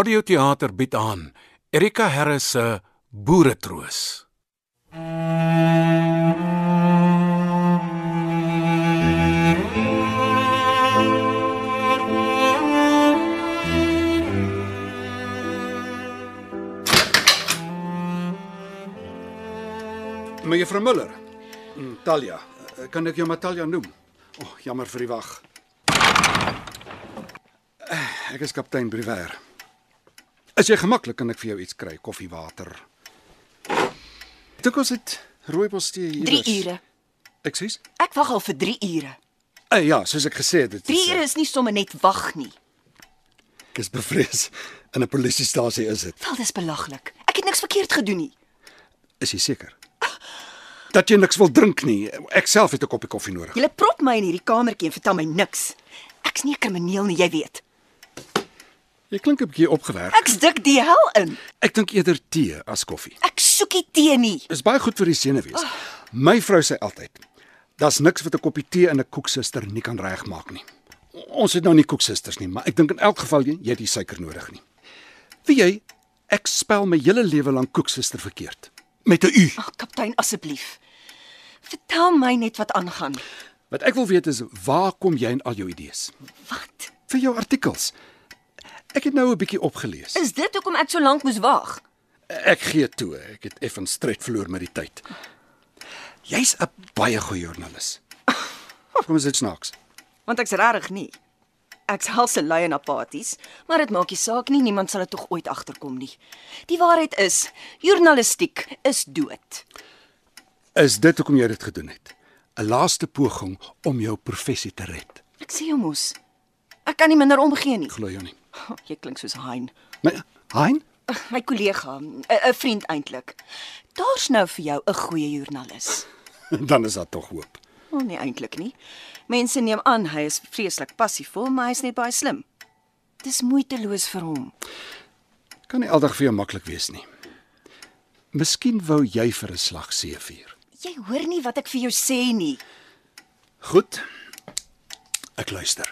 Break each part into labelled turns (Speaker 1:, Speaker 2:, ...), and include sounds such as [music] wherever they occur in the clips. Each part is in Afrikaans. Speaker 1: Radioteater bied aan Erika Harris se Boeretroos.
Speaker 2: Mevrou Müller. Mm, Talia. Eh, Kan ek jou maar Talia noem? O, oh, jammer vir die wag. Eh, Ek is kaptein Briwer. As jy gemaklik kan ek vir jou iets kry, koffie, water. Dit kos dit rooibostee hier.
Speaker 3: 3 ure.
Speaker 2: Ekskuus?
Speaker 3: Ek wag al vir 3 ure.
Speaker 2: Uh, ja, soos ek gesê het, dit
Speaker 3: 3
Speaker 2: eh,
Speaker 3: ure is nie sommer net wag nie.
Speaker 2: Ek is bevrees in 'n polisiestasie is dit.
Speaker 3: Wel dis belaglik. Ek het niks verkeerd gedoen nie.
Speaker 2: Is jy seker? Dat jy niks wil drink nie. Ek self het 'n koppie koffie nodig.
Speaker 3: Jy prop my in hierdie kamertjie en vertel my niks. Ek's nie 'n krimineel nie, jy weet.
Speaker 2: Jy klink 'n bietjie opgewerk.
Speaker 3: Ek's dik die hel in.
Speaker 2: Ek dink eerder tee as koffie.
Speaker 3: Ek soek nie tee nie.
Speaker 2: Is baie goed vir die senuwees. My vrou sê altyd, daar's niks wat 'n koppie tee in 'n koeksuster nie kan regmaak nie. Ons het nou nie koeksusters nie, maar ek dink in elk geval jy, jy het die suiker nodig nie. Wie jy, ek spel my hele lewe lank koeksuster verkeerd met 'n u.
Speaker 3: Ag, kaptein asseblief. Vertel my net wat aangaan.
Speaker 2: Wat ek wil weet is waar kom jy en al jou idees
Speaker 3: Wat?
Speaker 2: vir jou artikels? Ek het nou 'n bietjie opgelees.
Speaker 3: Is dit hoekom ek so lank moes wag?
Speaker 2: Ek gee toe, ek het effens stryd verloor met die tyd. Jy's 'n baie goeie joernalis. Kom ons dit snaaks.
Speaker 3: Want ek's regtig nie. Ek's helse lui en apaties, maar dit maak nie saak nie, niemand sal dit tog ooit agterkom nie. Die waarheid is, journalistiek is dood.
Speaker 2: Is dit hoekom jy dit gedoen het? 'n Laaste poging om jou professie te red.
Speaker 3: Ek sê jou mos. Ek kan nie minder omgee nie. [laughs]
Speaker 2: Glo jou nie.
Speaker 3: Oh, jy klink soos Hein. [laughs]
Speaker 2: Maar Hein,
Speaker 3: Ag, My kollega, 'n 'n vriend eintlik. Daar's nou vir jou 'n goeie joernalis.
Speaker 2: [laughs] dan is daar tog hoop.
Speaker 3: Wel nee eintlik nie. Mense neem aan hy is vreeslik passievol, maar hy's net baie slim. Dis moeiteloos vir hom.
Speaker 2: Kan nie aldag vir jou maklik wees nie. Miskien wou jy vir 'n slag seevier.
Speaker 3: Jy hoor nie wat ek vir jou sê nie.
Speaker 2: Goed. Ek luister.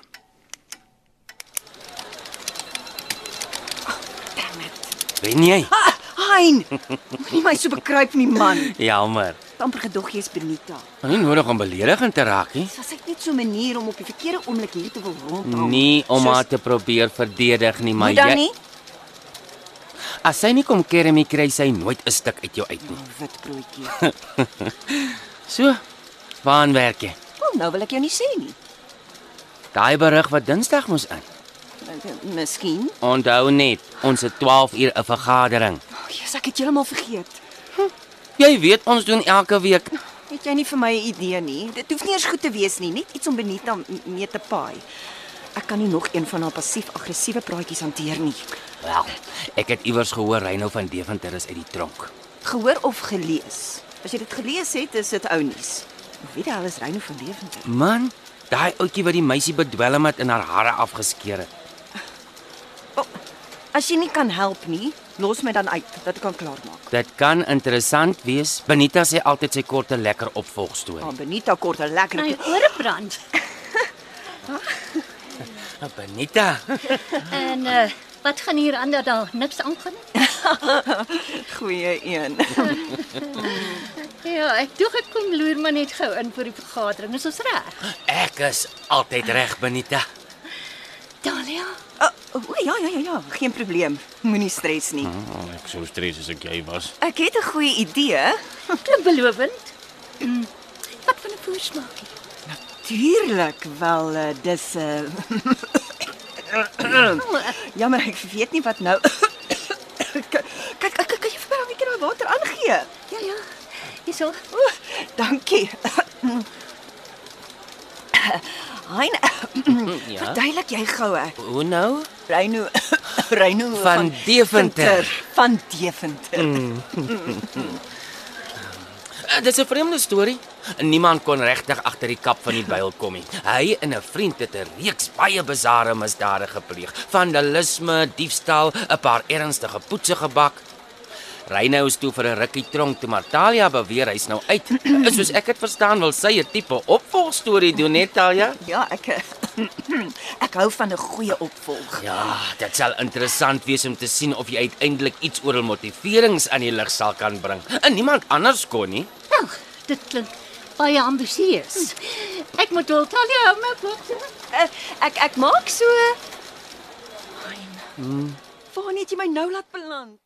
Speaker 3: Damn it.
Speaker 4: Wen jy?
Speaker 3: Ah, hein. Moenie my so bekruip nie, man.
Speaker 4: Jammer.
Speaker 3: Het [laughs] amper gedog jy's Benita.
Speaker 4: Maar nie nodig om beledigend te raak nie.
Speaker 3: Was ek net so 'n manier om op die verkeerde oomblik hier te wil rondhang?
Speaker 4: Nie om haar
Speaker 3: Soos-
Speaker 4: te probeer verdedig nie, maar
Speaker 3: Oh, Moet dan
Speaker 4: Nee, jy
Speaker 3: nie.
Speaker 4: as sy nie kom kermie kry sy nooit 'n stuk uit jou uit nie.
Speaker 3: Oh, wit broodjie.
Speaker 4: So, waaraan werk jy?
Speaker 3: Wel, nou wil ek jou nie sê nie.
Speaker 4: Daai berig wat Dinsdag moes in.
Speaker 3: Ek- Miskien.
Speaker 4: Onthou net, ons het 12 uur 'n vergadering.
Speaker 3: Oh, Jesus, ek het heeltemal vergeet.
Speaker 4: Jy weet ons doen elke week.
Speaker 3: Het jy nie vir my 'n idee nie? Dit hoef nie eers goed te wees nie, net iets om Benita m- mee te paai. Ek kan nie nog een van haar passief-aggressiewe praatjies hanteer nie.
Speaker 4: Wel, ek het iewers gehoor Reyno van Deventer is uit die tronk.
Speaker 3: Gehoor of gelees? As jy dit gelees het, is dit ou nuus. Wie die hel is Reyno van Deventer?
Speaker 4: Man, daai ouetjie wat die meisie bedwelm het en haar hare afgeskeer het.
Speaker 3: Oh, as jy nie kan help nie, los my dan uit dat ek kan klaarmaak.
Speaker 4: Dit kan interessant wees. Benita sê altyd sy korte lekker opvolgstorie.
Speaker 3: Ah, Benita kort 'n lekker.
Speaker 5: My ore brand.
Speaker 4: Oh, nou, Benita.
Speaker 5: En uh, wat gaan hier ander daar niks aangaan?
Speaker 3: Goeie een.
Speaker 5: Ja, ek dink ek kom loer maar net gou in vir die vergadering. Is ons reg?
Speaker 4: Ek is altyd reg, Benita.
Speaker 5: Dalia,
Speaker 3: O, o ja ja ja ja, geen probleem. Moenie stres nie.
Speaker 4: Oh, ek sou stres as ek jy was.
Speaker 3: Ek het 'n goeie idee.
Speaker 5: klink belovend. Mm, wat van 'n voorsmaakie?
Speaker 3: Tuurlik wel, eh, [coughs] dis 'n
Speaker 5: O, eh,
Speaker 3: Jammer, ek weet nie wat nou. [coughs] Kyk, kyk, kyk, kan jy vir my 'n bietjie daai water aangee?
Speaker 5: ja ja. Hierso.
Speaker 3: O, dankie. [coughs] Hein, [coughs]
Speaker 4: Ja.
Speaker 3: verduidelik jy goue.
Speaker 4: Hoe nou?
Speaker 3: Reino [coughs] Reino
Speaker 4: Van Deventer.
Speaker 3: Van Deventer.
Speaker 4: Eh, Dis 'n vreemde storie. Niemand kon regtig agter die kap van die byl kom nie. Hy en 'n vriend het 'n reeks baie bizarre misdade gepleeg. Vandalisme, diefstal, 'n paar ernstige poetse gebak. Ry nou is toe vir 'n rukkie tronk toe Natalia beweer hy's nou uit. [clears throat] Is soos ek dit verstaan wil sy 'n tipe opvolgstorie doen, net Talia?
Speaker 3: Ja, ek [clears throat] ek hou van 'n goeie opvolg.
Speaker 4: Ja, dit sal interessant wees om te sien of jy uiteindelik iets oor hul motiverings aan die lig sal kan bring. En niemand anders kon nie.
Speaker 5: Nou, dit klink baie ambisieus. Ek moet wel Talia my plek.
Speaker 3: Eh, Ek ek maak so. Waarna het jy my nou laat beland?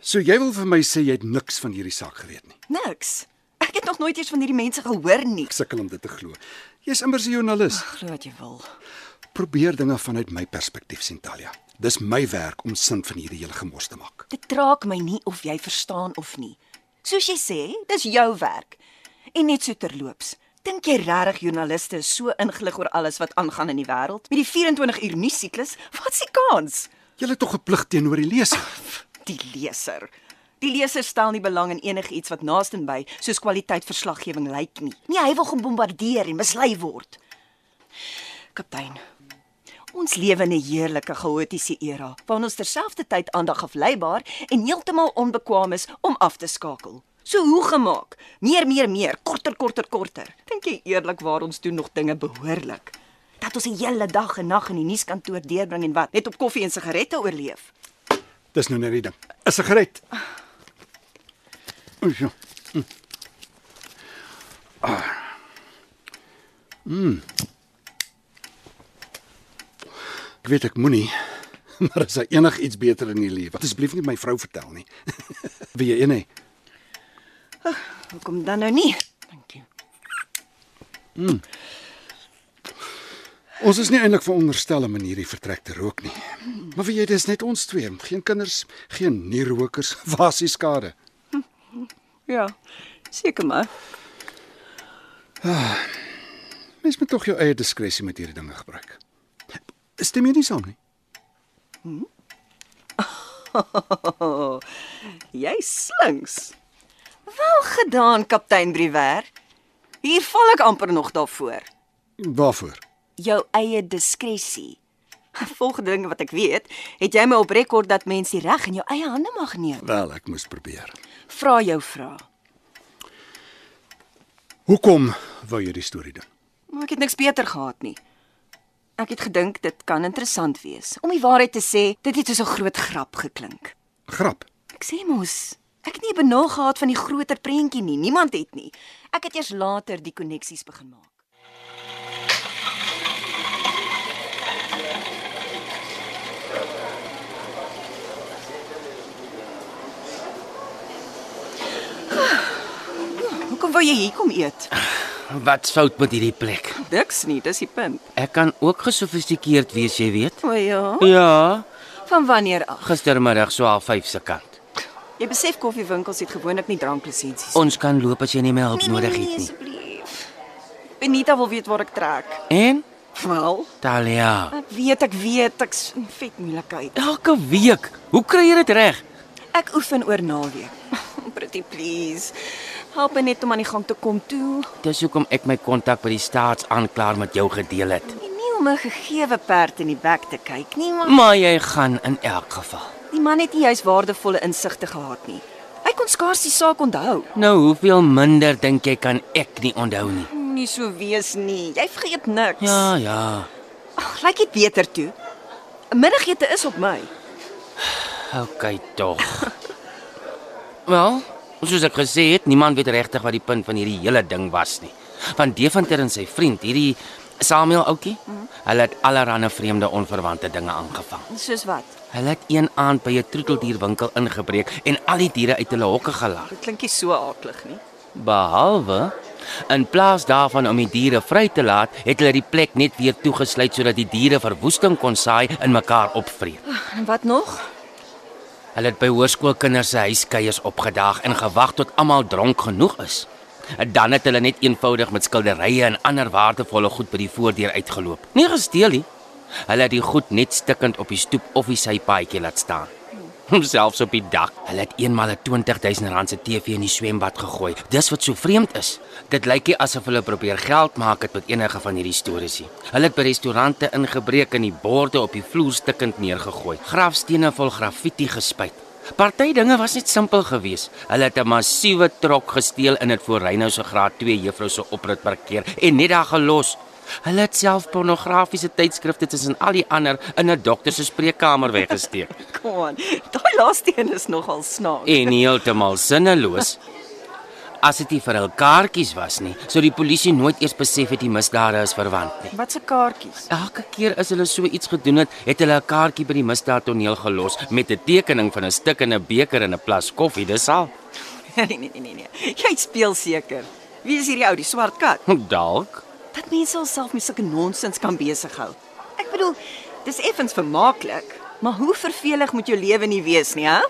Speaker 2: So jy wil vir my sê jy het niks van hierdie saak geweet nie.
Speaker 3: Niks. Ek het nog nooit eens van hierdie mense gehoor nie.
Speaker 2: Ek sukkel om dit te glo. Jy's immers 'n joernalis.
Speaker 3: Glo wat jy wil.
Speaker 2: Probeer dinge vanuit my perspektief sien, Talia. Dis my werk om sin van hierdie hele gemors te maak.
Speaker 3: Dit raak my nie of jy verstaan of nie. Soos jy sê, dis jou werk. En net so terloops, dink jy regtig joernaliste is so ingelig oor alles wat aangaan in die wêreld? Met die 24 uur nuus siklus, wat's die kans?
Speaker 2: Jy het tog 'n plig teenoor die leser.
Speaker 3: Die leser. Die leser stel nie belang in enigiets wat naastenby soos kwaliteit verslaggewing lyk nie. Nee, hy wil gebombardeer en mislei word. Kaptein, ons lewe in 'n heerlike chaotiese era waarin ons terselfdertyd aandag afleibaar en heeltemal onbekwaam is om af te skakel. So hoe gemaak? Meer, meer, meer, korter, korter, korter. Dink jy eerlikwaar ons doen nog dinge behoorlik? Dat ons 'n hele dag en nag in die nuuskantoor deurbring en wat, net op koffie en sigarette oorleef.
Speaker 2: Dis nou net die ding. 'n Sigaret. Oei, Ja. Mm. Ah. Mm. Ah. Hm. Ek weet ek moenie, [laughs] maar is daar enigiets beter in die lewe? Asseblief nie my vrou vertel nie. [laughs] Wie jy een hê.
Speaker 3: Hoekom dan nou nie? Dankie.
Speaker 2: Ons is nie eintlik veronderstel om in hierdie vertrek te rook nie. Maar weet jy, dis net ons twee, geen kinders, geen nierrokers, [laughs] was die skade.
Speaker 3: Ja. Seker maar.
Speaker 2: Mens moet tog jou eie diskresie met hierdie dinge gebruik. Stem jy nie saam nie?
Speaker 3: Oh, [laughs] jy slinks. Wel gedaan, kaptein Briwer. Hier val ek amper nog daarvoor.
Speaker 2: Waarvoor?
Speaker 3: Jou eie diskresie. [laughs] Volgende ding wat ek weet, het jy my op rekord dat mens die reg in jou eie hande mag neem.
Speaker 2: Wel, ek moes probeer.
Speaker 3: Vra jou vrae.
Speaker 2: Hoekom wou jy die storie doen?
Speaker 3: Maar ek het niks beter gehad nie. Ek het gedink dit kan interessant wees. Om die waarheid te sê, dit het soos 'n groot grap geklink.
Speaker 2: Grap.
Speaker 3: Ek sê mos, ek het nie benul gehad van die groter prentjie nie. Niemand het nie. Ek het eers later die koneksies begin maak. [sighs] Hoekom wou jy hier kom eet?
Speaker 4: Wat's fout met hierdie plek?
Speaker 3: Niks nie, dis die punt.
Speaker 4: Ek kan ook gesofistikeerd wees, jy weet.
Speaker 3: O ja.
Speaker 4: Ja,
Speaker 3: Van wanneer af?
Speaker 4: gistermiddag so half 5 se kant.
Speaker 3: Jy besef koffiewinkels het gewoonlik nie dranklisensies
Speaker 4: Ons kan loop as jy nie meer hulp
Speaker 3: Nee,
Speaker 4: nodig het nie.
Speaker 3: asseblief. Benita wil weet waar ek trek.
Speaker 4: En
Speaker 3: Wel,
Speaker 4: Talia,
Speaker 3: ek weet, ek weet, ek's in vet moeilikheid.
Speaker 4: elke week, hoe kry jy dit reg?
Speaker 3: Ek oefen oor naweek. [laughs] Pretty please. Help my net om aan die gang te kom toe.
Speaker 4: Dis hoekom ek my kontak by die staatsaanklaer met jou gedeel het.
Speaker 3: En nie om 'n gegewe perd in die bek te kyk nie, maar
Speaker 4: Maar jy gaan in elk geval.
Speaker 3: die man het nie juis waardevolle insigte gehad nie. Hy kon skaars die saak onthou.
Speaker 4: Nou hoeveel minder dink jy kan ek nie onthou nie?
Speaker 3: Nie so wees nie. Jy vergeet niks.
Speaker 4: Ja, ja.
Speaker 3: Ag, lyk dit beter toe. 'n Middagete is op my.
Speaker 4: OK tog. [laughs] Wel, soos ek gesê het, niemand weet regtig wat die punt van hierdie hele ding was nie. Van Deventer en sy vriend, hierdie Samuel ouetjie, hulle het allerlei vreemde onverwante dinge aangevang.
Speaker 3: Soos wat?
Speaker 4: Hulle het een aand by 'n troeteldierwinkel ingebreek en al die diere uit hulle hokke gelag.
Speaker 3: Dit klink nie so aaklig nie.
Speaker 4: Behalwe in plaas daarvan om die diere vry te laat, het hulle die plek net weer toegesluit sodat die diere verwoesting kon saai en mekaar opvreet.
Speaker 3: En wat nog?
Speaker 4: Hulle het by hoërskoolkinders se huiskuiers opgedaag en gewag tot almal dronk genoeg is. En Dan het hulle net eenvoudig met skilderye en ander waardevolle goed by die voordeur uitgeloop. Nie gesteel nie. Hulle het die goed net stikkend op die stoep of die sypaadjie laat staan. [laughs] Selfs op die dak. Hulle het eenmal 'n 20000 rand se TV in die swembad gegooi. Dis wat so vreemd is. Dit lyk nie asof hulle probeer geld maak het met enige van hierdie stories nie. Hulle het by restaurante ingebreek en die borde op die vloer stikkend neergegooi. Grafstene vol graffiti gespuit. Party dinge was net simpel geweest. Hulle het 'n massiewe trok gesteel en dit voor Reynou se graad 2 juffrou se oprit parkeer en net daar gelos. Hulle het self pornografiese tydskrifte tussen al die ander in 'n dokter se spreekkamer weggesteek. [laughs]
Speaker 3: Kom aan. Daai laaste een is nogal snaaks.
Speaker 4: en heeltemal sinneloos. As dit nie vir hul kaartjies was nie, sou die polisie nooit eers besef het die misdade is verwant nie.
Speaker 3: Wat se kaartjies?
Speaker 4: Elke keer as hulle so iets gedoen het, het hulle 'n kaartjie by die misdaadtoneel gelos met 'n tekening van 'n stuk in 'n beker en 'n plas koffie, dis al. [laughs]
Speaker 3: [laughs] nee nee nee nee, nee. Jy speel seker. Wie is hierdie ou, die swart kat?
Speaker 4: Dalk.
Speaker 3: Dat mense hulself met sulke nonsens kan besig hou. Ek bedoel, dis effens vermaaklik, maar hoe vervelig moet jou lewe nie wees nie, hè?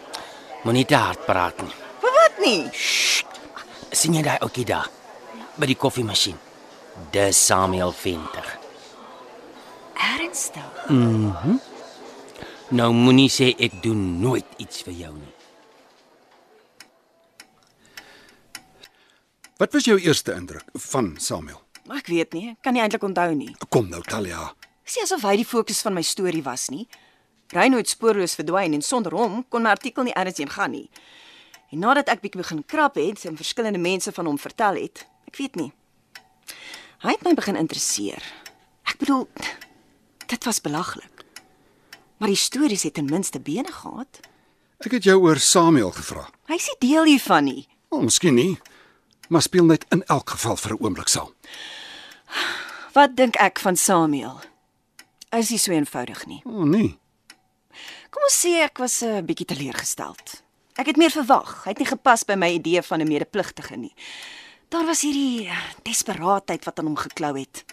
Speaker 4: Moenie te hard praat nie.
Speaker 3: Vir wat nie?
Speaker 4: sien jy daai ouetjie daar by die koffiemasjien? Dis Samuel Venter.
Speaker 3: Ernstig?
Speaker 4: Nou moenie sê ek doen nooit iets vir jou nie.
Speaker 2: Wat was jou eerste indruk van Samuel?
Speaker 3: Maar ek weet nie, ek kan nie eintlik onthou nie.
Speaker 2: Kom nou, Talia.
Speaker 3: Dis nie asof hy die fokus van my storie was nie. Reinhold het spoorloos verdwyn en sonder hom kon my artikel nie elders heen gaan nie. En nadat ek bietjie begin krap het en verskillende mense van hom vertel het, ek weet nie. Hy het my begin interesseer. Ek bedoel, dit was belaglik. Maar die stories het ten minste bene gehad.
Speaker 2: Ek het jou oor Samuel gevra.
Speaker 3: Hy is nie deel hiervan nie.
Speaker 2: Oh, miskien nie, maar speel net in elk geval vir 'n oomblik saam.
Speaker 3: Wat dink ek van Samuel? Is nie so eenvoudig nie.
Speaker 2: O oh, nee.
Speaker 3: Kom ons sê ek was 'n bietjie teleurgesteld. Ek het meer verwag. Hy het nie gepas by my idee van 'n medepligtige nie. Daar was hierdie eh, desperaatheid wat aan hom geklou het.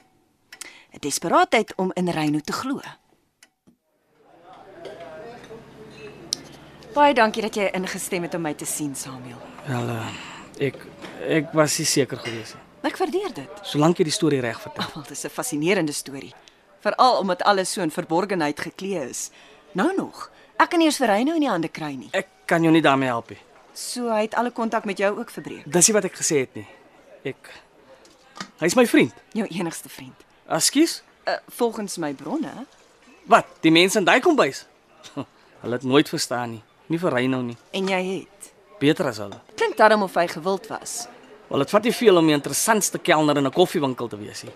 Speaker 3: 'n Desperaatheid om in Reyno te glo. Baie dankie dat jy ingestem het om my te sien, Samuel.
Speaker 6: Wel, eh, ek ek was nie seker gewees nie.
Speaker 3: Ek waardeer dit.
Speaker 6: Solank jy die storie reg vertel.
Speaker 3: [laughs] Wel, dis 'n fascinerende storie, veral omdat alles so in verborgenheid geklee is. Nou nog, ek kan nie eens vir Reyno in die hande kry nie.
Speaker 6: Ek kan jou nie daarmee help nie.
Speaker 3: So hy het alle kontak met jou ook verbreek.
Speaker 6: Dis nie wat ek gesê het nie. Ek Hy's my vriend.
Speaker 3: Jou enigste vriend.
Speaker 6: Ekskuus.
Speaker 3: Uh, volgens my bronne
Speaker 6: Wat? Die mense in daai kombuis. Hulle het nooit verstaan nie. Nie vir Reynou nie.
Speaker 3: en jy het.
Speaker 6: Beter as hulle.
Speaker 3: Klink daarom of hy gewild was.
Speaker 6: Wel, dit vat nie veel om die interessantste kelner in 'n koffiewinkel te wees nie.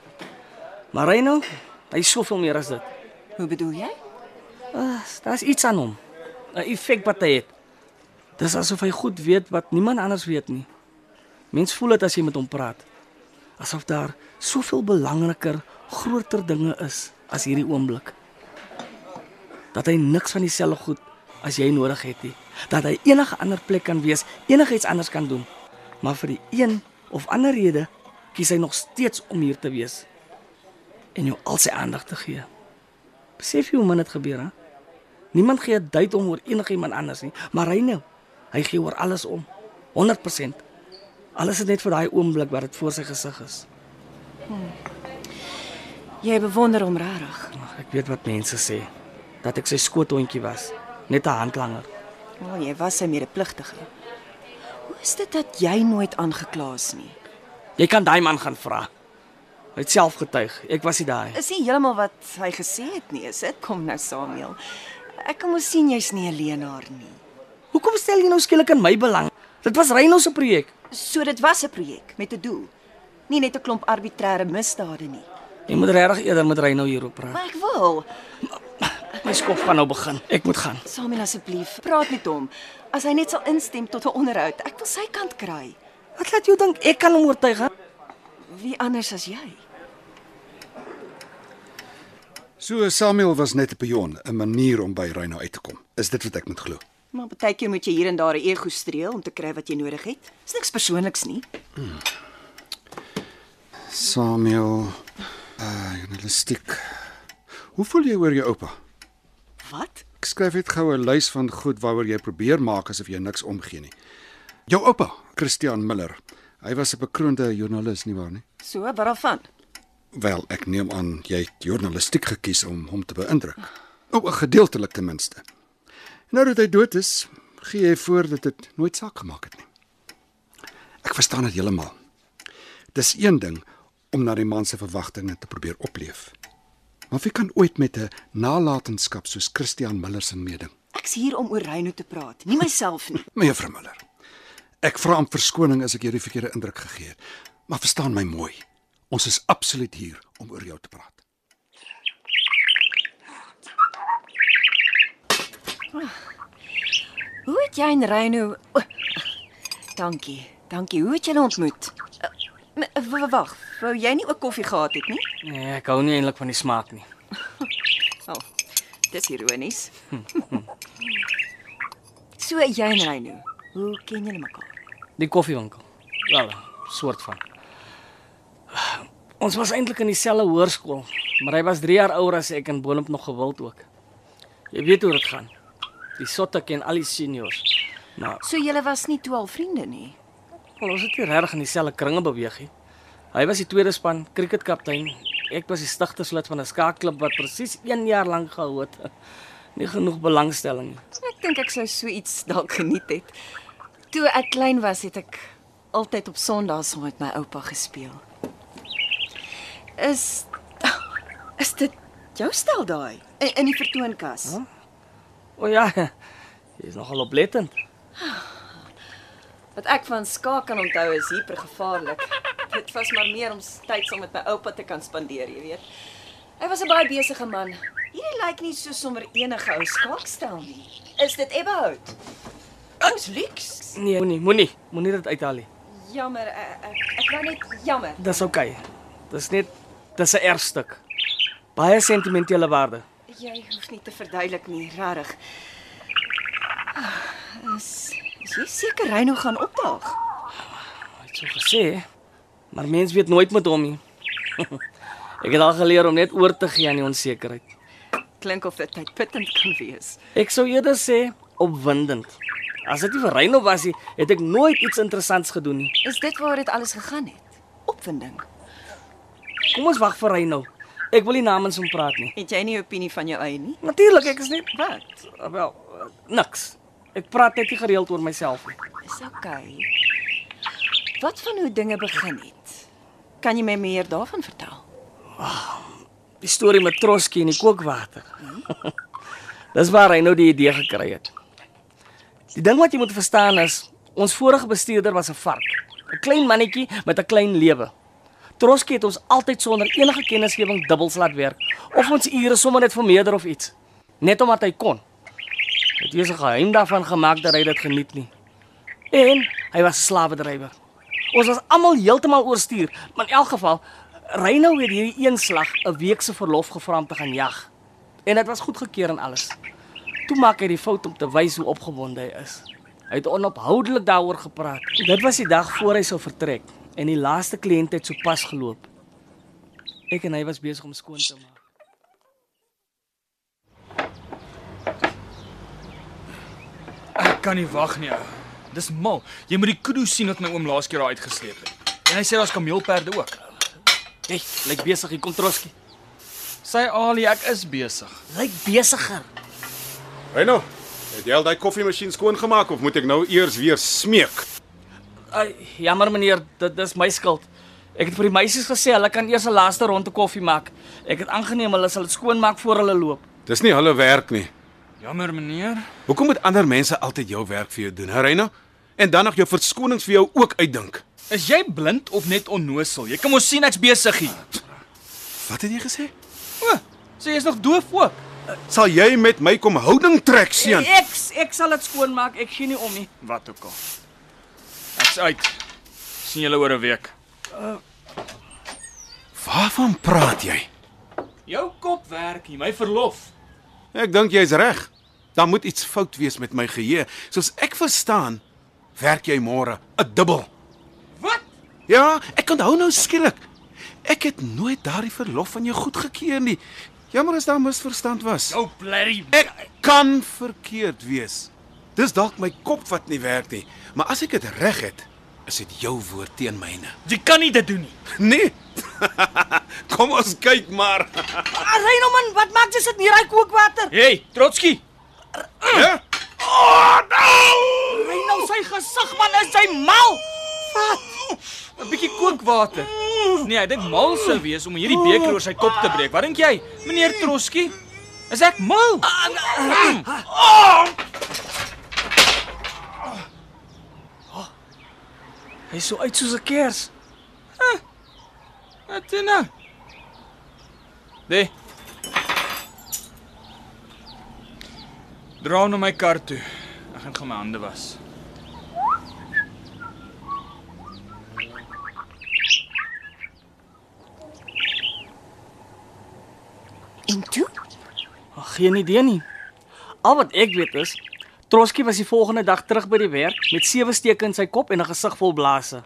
Speaker 6: Maar Reynou, hy's soveel meer as dit.
Speaker 3: Hoe bedoel jy?
Speaker 6: Uh, Daar's iets aan hom. 'n Effek wat hy het. Dis asof hy goed weet wat niemand anders weet nie. Mens voel dit as jy met hom praat. Asof daar soveel belangriker, groter dinge is as hierdie oomblik. Dat hy niks van dieselfde goed as jy nodig het nie. Dat hy enige ander plek kan wees, enigiets anders kan doen. Maar vir die een of ander rede kies hy nog steeds om hier te wees en jou al sy aandag te gee. Besef jy hoe min dit gebeur, hè? Niemand gee 'n duit om oor enigiemand anders nie, maar hy nou, hy gee oor alles om. 100%. Alles is net vir daai oomblik wat dit voor sy gesig is.
Speaker 3: Jy bewonder hom regtig.
Speaker 6: Ag, ek weet wat mense sê, dat ek sy skoothondjie was, net 'n handlanger.
Speaker 3: O, oh, jy was sy medepligtige. Hoe is dit dat jy nooit aangekla is nie?
Speaker 6: Jy kan daai man gaan vra. Hy het self getuig, ek was nie daai.
Speaker 3: Is nie heeltemal wat hy gesê het nie, is dit? Kom nou Samuel. Ek kan mos sien jy's nie 'n leenaar nie.
Speaker 6: Hoekom stel jy nou skielik in my belang? Dit was Reyno se projek.
Speaker 3: So dit was 'n projek met 'n doel. Nie net 'n klomp arbitreëre misdade nie.
Speaker 6: Jy moet regtig eerder met Reyno hierop praat.
Speaker 3: Maar ek wil,
Speaker 6: My skof gaan nou begin. Ek moet gaan.
Speaker 3: Samuel asseblief, praat met hom. As hy net sal instem tot 'n onderhoud, ek wil sy kant kry.
Speaker 6: Wat laat jou dink ek kan hom oortuig? He?
Speaker 3: Wie anders as jy?
Speaker 2: So Samuel was net 'n pion, 'n manier om by Reyno uit te kom. Is dit wat ek moet glo?
Speaker 3: Maar baie keer moet jy hier en daar 'n ego streel om te kry wat jy nodig het. Dis niks persoonliks nie.
Speaker 2: Samuel, uh, journalistiek. Hoe voel jy oor jou oupa?
Speaker 3: Wat?
Speaker 2: Ek skryf net gou 'n lys van goed waaroor jy probeer maak asof jy niks omgee nie. Jou oupa, Christian Miller. Hy was 'n bekroonde joernalis nie waar nie?
Speaker 3: So, wat daarvan?
Speaker 2: Wel, ek neem aan jy het journalistiek gekies om hom te beïndruk. O, 'n gedeeltelik ten Oh, minste. Nou dat hy dood is, gee hy voor dat dit nooit saak gemaak het nie. Ek verstaan dit heeltemal. Dis een ding om na die man se verwagtinge te probeer opleef. Maar wie kan ooit met 'n nalatenskap soos Christian Miller se meeding?
Speaker 3: Ek's hier om oor Reyno te praat, nie myself nie.
Speaker 2: Mevrou Miller. Ek vra om verskoning as ek jou die verkeerde indruk gegee het. Maar verstaan my mooi. Ons is absoluut hier om oor jou te praat.
Speaker 3: [laughs] Hoe het jy en Reyno o, Dankie. Dankie. Hoe het julle ontmoet? Eh, w- w- Wag, wou jy nie ook koffie gehad het nie?
Speaker 6: Nee, ek hou nie eintlik van die smaak nie.
Speaker 3: Wel, oh, dis [laughs] ironies. so jy en Reyno, hoe ken julle mekaar?
Speaker 6: Die koffiewinkel. Wel, soort van. Ons was eintlik in dieselfde hoërskool, maar hy was 3 jaar ouer as ek en Bolimp nog gewild ook. Jy weet hoe dit gaan. Die sotte ken al die seniors. Maar
Speaker 3: So julle was nie toe al vriende nie.
Speaker 6: wel, ons het nie regtig in dieselfde kringe beweeg nie. Hy was die tweede span kriketkaptein. Ek was die stigterslid van 'n skaakklub wat presies 1 jaar lank gehou het. [laughs] Nie genoeg belangstelling nie.
Speaker 3: Ek dink ek sou so iets [laughs] dalk geniet het. Toe ek klein was, het ek altyd op Sondae saam met my oupa gespeel. Is [laughs] is dit jou stel daai in, in die vertoonkas? Huh?
Speaker 6: O ja, [laughs] jy is nogal oplettend.
Speaker 3: Wat ek van skaak kan onthou is hipergevaarlik. Dit was maar meer om s- tyd saam met my oupa te kan spandeer, jy weet. Hy was 'n baie besige man. Hierdie lyk nie so sommer enige ou skaakstel nie. Is dit Ebbehout? Ons Lux.
Speaker 6: Nee, moenie, moenie, moenie dit uithaal nie.
Speaker 3: Jammer, ek ek, ek wou net jammer.
Speaker 6: Dis oukei. Okay. Dis net dis 'n erfstuk. Baie sentimentele waarde.
Speaker 3: Jy hoef nie te verduidelik nie, regtig. Ah, Is, is jy seker Reyno gaan opdaag?
Speaker 6: Hy het so gesê, maar mens weet nooit met hom nie. [laughs] Ek het al geleer om net oor te gee aan die onsekerheid.
Speaker 3: Klink of dit tydputtend kan wees.
Speaker 6: Ek sou eerder sê opwindend. As dit nie vir Reyno was nie, het ek nooit iets interessants gedoen nie.
Speaker 3: Is dit waar dit alles gegaan het? Opwinding.
Speaker 6: Kom ons wag vir Reyno. Ek wil nie namens hom praat nie.
Speaker 3: Het jy nie 'n opinie van jou eie nie?
Speaker 6: Natuurlik, ek is net
Speaker 3: Wat?
Speaker 6: wel niks. Ek praat net nie gereeld oor myself nie.
Speaker 3: Dis okay. Wat van hoe dinge begin het? Kan jy my meer daarvan vertel?
Speaker 6: die storie met Troski en die kookwater. [laughs] Dis waar hy nou die idee gekry het. Die ding wat jy moet verstaan is, ons vorige bestuurder was 'n vark, 'n klein mannetjie met 'n klein lewe. Troski het ons altyd sonder enige kennisgewing dubbels laat werk of ons ure sommer net vermeerder of iets, net omdat hy kon. Hy Het is 'n geheim daarvan gemaak dat hy dit geniet nie. En hy was 'n slawedrywer. Ons was almal heeltemal oorstuur, maar in elk geval Reynou het hierdie een slag 'n week se verlof gevra om te gaan jag. En dit was goedgekeur en alles. Toe maak hy die fout om te wys hoe opgewonde hy is. Hy het onophoudelik daaroor gepraat. Dit was die dag voor hy sou vertrek en die laaste kliënt het sopas geloop. Ek en hy was besig om skoon te maak.
Speaker 7: Ek kan nie wag nie, ou. Dis mal. Jy moet die kudu sien wat my oom laas keer daar uitgesleep het. En hy sê daar's kameelperde ook.
Speaker 6: Jy lyk besig hier kom Troski.
Speaker 7: Sy Ali, ek is besig.
Speaker 6: Lyk besigger.
Speaker 1: Reno, het jy al daai koffiemasjien skoongemaak of moet ek nou eers weer smeek?
Speaker 6: Ai, jammer meneer, dit dis my skuld. Ek het vir die meisies gesê hulle kan eers 'n laaste ronde koffie maak. Ek het aangeneem hulle sal dit skoonmaak voor hulle loop.
Speaker 1: Dis nie hulle werk nie.
Speaker 7: Jammer, meneer.
Speaker 1: Hoekom moet ander mense altyd jou werk vir jou doen, hè, Reno? En dan nog jou verskonings vir jou ook uitdink.
Speaker 7: Is jy blind of net onnosel? Jy kan mos sien ek's besig hier.
Speaker 1: Wat het jy gesê?
Speaker 7: O, sê jy's nog doof ook.
Speaker 1: Sal jy met my kom houding trek, seun?
Speaker 7: Ja.
Speaker 6: Ek ek sal dit skoonmaak. Ek gee nie om nie.
Speaker 7: Wat ook al. Ek's uit. sien julle oor 'n week.
Speaker 1: Waarvan praat jy?
Speaker 7: Jou kop werk, nie my verlof.
Speaker 1: Ek dink jy's reg. Daar moet iets fout wees met my geheue. Soos ek verstaan, werk jy môre 'n dubbel.
Speaker 7: Wat?
Speaker 1: Ja, ek onthou nou skielik. Ek het nooit daardie verlof van jou goedgekeur nie. Jammer as daar misverstand was.
Speaker 7: Jou blerrie.
Speaker 1: Ek kan verkeerd wees. Dis dalk my kop wat nie werk nie, maar as ek dit reg het, is dit jou woord teen myne.
Speaker 7: Jy kan nie dit doen nie.
Speaker 1: Nee. [laughs] Kom ons kyk maar.
Speaker 6: Ah, Reynoman, wat maak jy sit hier hy kookwater?
Speaker 7: Hey, Trotski.
Speaker 1: Hæ?
Speaker 7: sy gesig man, is hy mal? Wat? 'n Bietjie kookwater. Nee, ek dink mal sou wees om hierdie beker oor sy kop te breek. Wat dink jy, meneer Troskie? Is ek mal?
Speaker 6: Hy's so uit soos 'n kers.
Speaker 7: Wat doen nou? Nee. Dra hom na my kar toe. Ek gaan gaan my hande was.
Speaker 3: En toe?
Speaker 6: Ag, geen idee nie. Al wat ek weet is, Troskie was die volgende dag terug by die werk met sewe steke in sy kop en 'n gesig vol blaasse.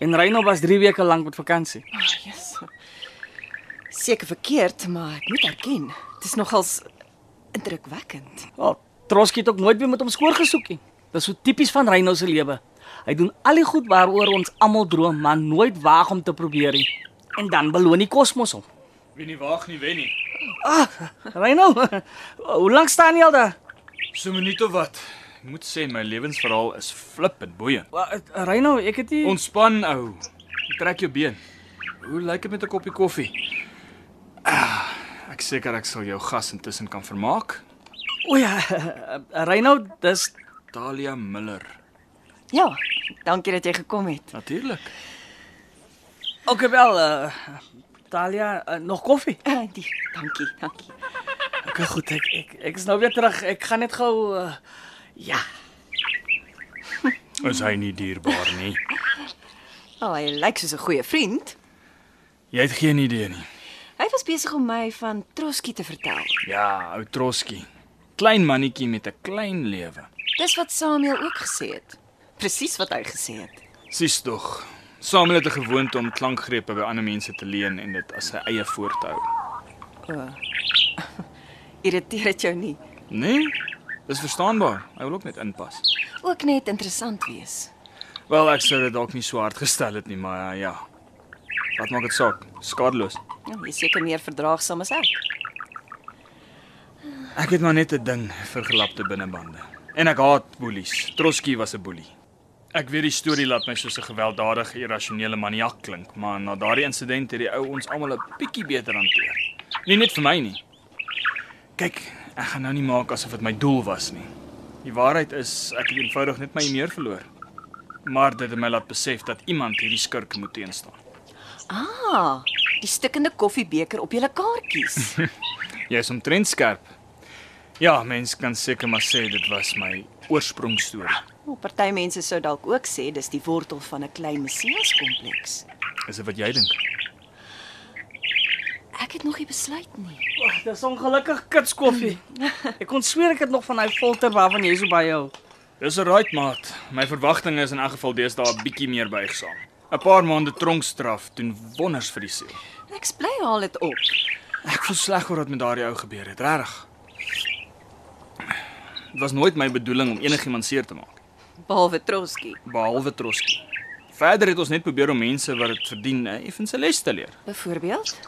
Speaker 6: En Reyno was 3 weke lank met vakansie.
Speaker 3: Ag, yes. Seker verkeerd, maar ek moet erken, dit is nogals indrukwekkend.
Speaker 6: Wel, Troskie het ook nooit weer met hom skoor gesoek nie. Dis so tipies van Reyno se lewe. Hy doen al die goed waaroor ons almal droom, maar nooit waag om te probeer nie. En dan beloon die kosmos hom. [laughs]
Speaker 7: Wie nie waag nie, wen nie.
Speaker 6: Reyno, [laughs] hoe lank staan jy al daar?
Speaker 7: So 'n minuut of wat. Ek moet sê my lewensverhaal is flippend boeiend.
Speaker 6: Reyno, eh, ek het nie
Speaker 7: Ontspan ou. Trek jou been. Hoe lyk dit met 'n koppie koffie? Ah, ek seker ek sal jou gas intussen kan vermaak.
Speaker 6: O ja, [laughs] Reyno, dis
Speaker 7: Talia Miller.
Speaker 3: Ja, dankie dat jy gekom het.
Speaker 7: Natuurlik.
Speaker 6: Okay wel, uh, Talia, uh, nog koffie.
Speaker 3: Uh, die, dankie, dankie.
Speaker 6: Okay, goed, ek ek ek is nou weer terug. Ek gaan net gou uh, ja.
Speaker 7: Is hy nie dierbaar nie?
Speaker 3: Oh, hy lyk soos 'n goeie vriend.
Speaker 7: Jy het geen idee nie.
Speaker 3: Hy was besig om my van Troskie te vertel.
Speaker 7: Ja, ou Troskie. Klein mannetjie met 'n klein lewe.
Speaker 3: Dis wat Samuel ook gesê het. Presies wat hy gesê het.
Speaker 7: Sies tog. Samuel het 'n gewoonte om klankgrepe by ander mense te leen en dit as sy eie voort te hou.
Speaker 3: Irriteer dit jou nie?
Speaker 7: Nee? Dis verstaanbaar. Hy wil ook net inpas.
Speaker 3: Ook net interessant wees.
Speaker 7: Wel, ek sou dit dalk nie so hard gestel het nie, maar ja. Wat maak dit saak? Skadeloos.
Speaker 3: Ja, jy is seker meer verdraagsaam as ek.
Speaker 7: Ek het maar net 'n ding vir gelapte binnebande. En ek haat boelies. Troskie was 'n boelie. Ek weet die storie laat my soos 'n gewelddadige, irrasionele maniak klink, maar na daardie insident het die ou ons almal 'n bietjie beter hanteer. Nie net vir my nie. Kyk, ek gaan nou nie maak asof dit my doel was nie. Die waarheid is, ek het eenvoudig net my meer verloor. Maar dit het my laat besef dat iemand hierdie skurk moet teenstaan.
Speaker 3: Ah, die stikkende koffiebeker op julle [laughs] kaartjies.
Speaker 7: Jy's omtrent skerp. Ja, mens kan seker maar sê dit was my oorsprongstorie.
Speaker 3: O, Party mense sou dalk ook sê dis die wortel van 'n klein messiaskompleks.
Speaker 7: Is dit wat jy dink?
Speaker 3: Ek het nog nie besluit nie.
Speaker 6: Oh, dis ongelukkig kits koffie. Ek kon sweer ek het nog van hy filter waarvan jy so baie hou.
Speaker 7: Dis 'n right maat. My verwagtinge is in elk geval deesdae 'n bietjie meer buigsaam. 'n Paar maande tronkstraf doen wonders vir die siel.
Speaker 3: Ek bly haal dit op.
Speaker 7: Ek voel sleg oor wat met daardie ou gebeur het, regtig. Dit was nooit my bedoeling om enigiemand seer te maak,
Speaker 3: Behalwe Troskie.
Speaker 7: behalwe Troskie. Verder het ons net probeer om mense wat dit verdien, eh, effens 'n les te leer.
Speaker 3: Byvoorbeeld,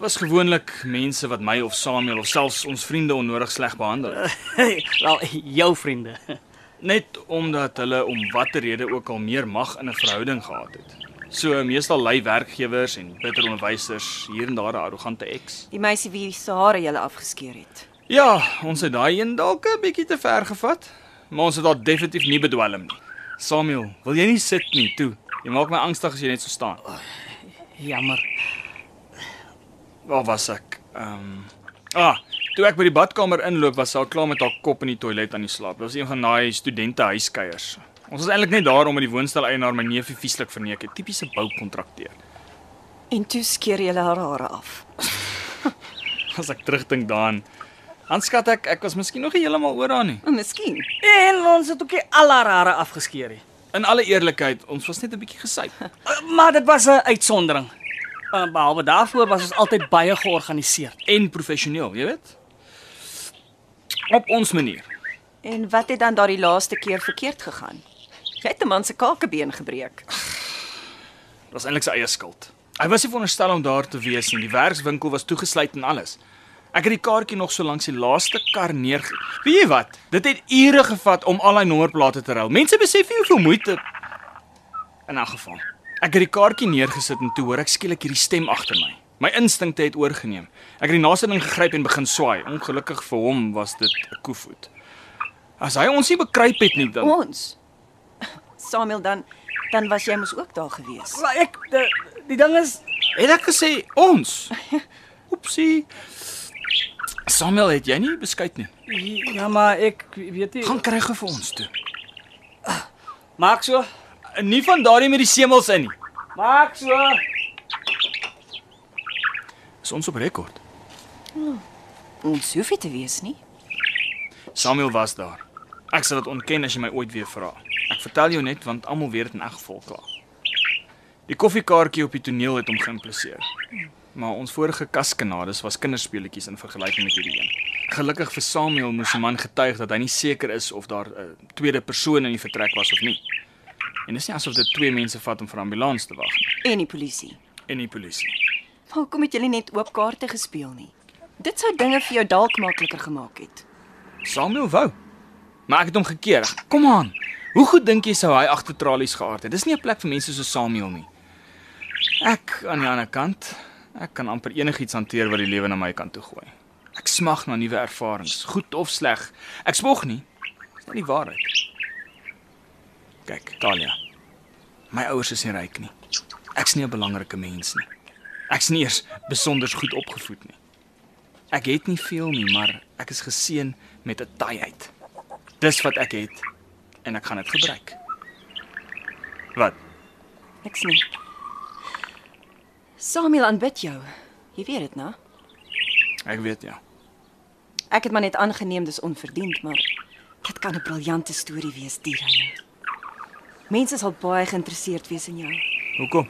Speaker 7: Was gewoonlik mense wat my of Samuel of selfs ons vriende onnodig sleg behandel het.
Speaker 6: [laughs] Wel, jou vriende.
Speaker 7: Net omdat hulle om watter rede ook al meer mag in 'n verhouding gehad het. So meestal lei werkgewers en bitter onderwysers hier en daar 'n arrogante eks.
Speaker 3: die meisie wie se hare jy afgeskeer het.
Speaker 7: Ja, ons het daai een dalk 'n bietjie te ver gevat, maar ons het haar definitief nie bedwelm nie. Samuel, wil jy nie sit nie, toe. Jy maak my angstig as jy net so staan.
Speaker 6: Jammer.
Speaker 7: Waar was ek? Ehm um, Ah, toe ek by die badkamer inloop was sy al klaar met haar kop in die toilet aan die slaap. Dit was een van daai studente huiskeiers. Ons was eintlik net daar om met die woonstel eienaar my neefie vieslik verneek het. Tipiese boukontrakteur.
Speaker 3: En toe skeer jy haar hare af.
Speaker 7: [laughs] As ek terugdink daaraan, dan skat ek ek was miskien nog nie heeltemal oor haar nie.
Speaker 3: Maar miskien.
Speaker 6: En ons het ook nie al haar hare afgeskeer nie.
Speaker 7: In alle eerlikheid, ons was net 'n bietjie gesyp.
Speaker 6: Uh, Maar dit was 'n uitsondering. Uh, Behalwe daarvoor was ons altyd baie georganiseer.
Speaker 7: En professioneel, jy weet. Op ons manier.
Speaker 3: En wat het dan daardie laaste keer verkeerd gegaan? Jy het 'n man se kakebeen gebreek.
Speaker 7: Dit was eintlik sy eie skuld. Hy was nie veronderstel om daar te wees nie. Die werkswinkel was toegesluit en alles. Ek het die kaartjie nog so langs die laaste kar neer. Weet jy wat? Dit het ure gevat om al daai nommerplate te ruil. Mense besef nie hoeveel moeite in 'n geval. Ek het die kaartjie neergesit en toe hoor ek skielik hierdie stem agter my. My instinkte het oorgeneem. Ek het die naaste ding gegryp en begin swaai. Ongelukkig vir hom was dit 'n koevoet. As hy ons nie bekruip het nie dan
Speaker 3: Ons. Samuel dan dan was jy mos ook daar gewees.
Speaker 7: Maar ek die, die ding is, het ek gesê ons. Oepsie. Samuel, het jy nie beskuit nie.
Speaker 8: Ja, maar ek weet nie.
Speaker 7: Gaan kry gou vir ons toe.
Speaker 8: Maak so.
Speaker 7: Nie van daardie met die semels in nie.
Speaker 8: Maak so.
Speaker 7: Is ons op rekord.
Speaker 3: Ons hoef nie te wees nie.
Speaker 7: Samuel was daar. Ek sal dit ontken as jy my ooit weer vra. Ek vertel jou net want almal weet dit in elk geval klaar. Die koffiekaartjie op die toneel het hom geïmpliseer. Maar ons vorige kaskanades was kinderspeletjies in vergelyking met hierdie een. Gelukkig vir Samuel moes die man getuig dat hy nie seker is of daar 'n tweede persoon in die vertrek was of nie. En dis nie asof dit twee mense vat om vir 'n ambulans te wag nie
Speaker 3: En die polisie.
Speaker 7: en die polisie.
Speaker 3: Maar hoekom het julle net oop kaarte gespeel nie? Dit sou dinge vir jou dalk makliker gemaak het.
Speaker 7: Samuel wou. Maar ek het hom gekeer. Ag, Kom aan. Hoe goed dink jy sou hy agter tralies geaard het? Dis nie 'n plek vir mense so Samuel nie. Ek aan die ander kant, ek kan amper enigiets hanteer wat die lewe na my kant toe gooi. Ek smag na nuwe ervarings, goed of sleg. Ek spog nie. Dis net die waarheid. Kyk, Talia. My ouers is nie ryk nie. Ek's nie 'n belangrike mens nie. Ek's nie eers besonder goed opgevoed nie. Ek het nie veel nie, maar ek is geseën met 'n taaiheid. Dis wat ek het en ek gaan dit gebruik. Wat?
Speaker 3: Niks nie. Samuel aanbid jou. Jy weet dit, né?
Speaker 7: Ek weet ja.
Speaker 3: Ek het maar net aangeneem dis onverdiend, maar dit kan 'n briljante storie wees, Diane. Mense sal baie geïnteresseerd wees in jou.
Speaker 7: Hoekom?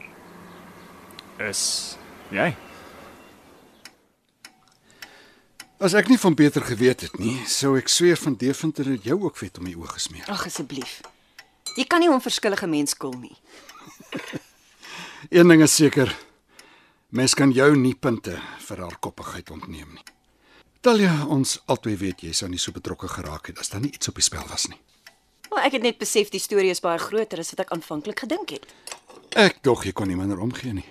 Speaker 7: Is jy?
Speaker 2: As ek nie van Pieter geweet het nie, sou ek sweer van Deventer het jou ook vet om die oë gesmeer.
Speaker 3: Ag asseblief. Jy kan nie onverskillige mens kil nie.
Speaker 2: Een ding is seker, mens kan jou nie punte vir haar koppigheid ontneem nie. Talia, ons albei weet jy sou nie so betrokke geraak het as daar nie iets op die spel was nie.
Speaker 3: Maar ek het net besef die storie is baie groter as wat ek aanvanklik gedink het.
Speaker 2: Ek dog jy kon nie minder omgee nie.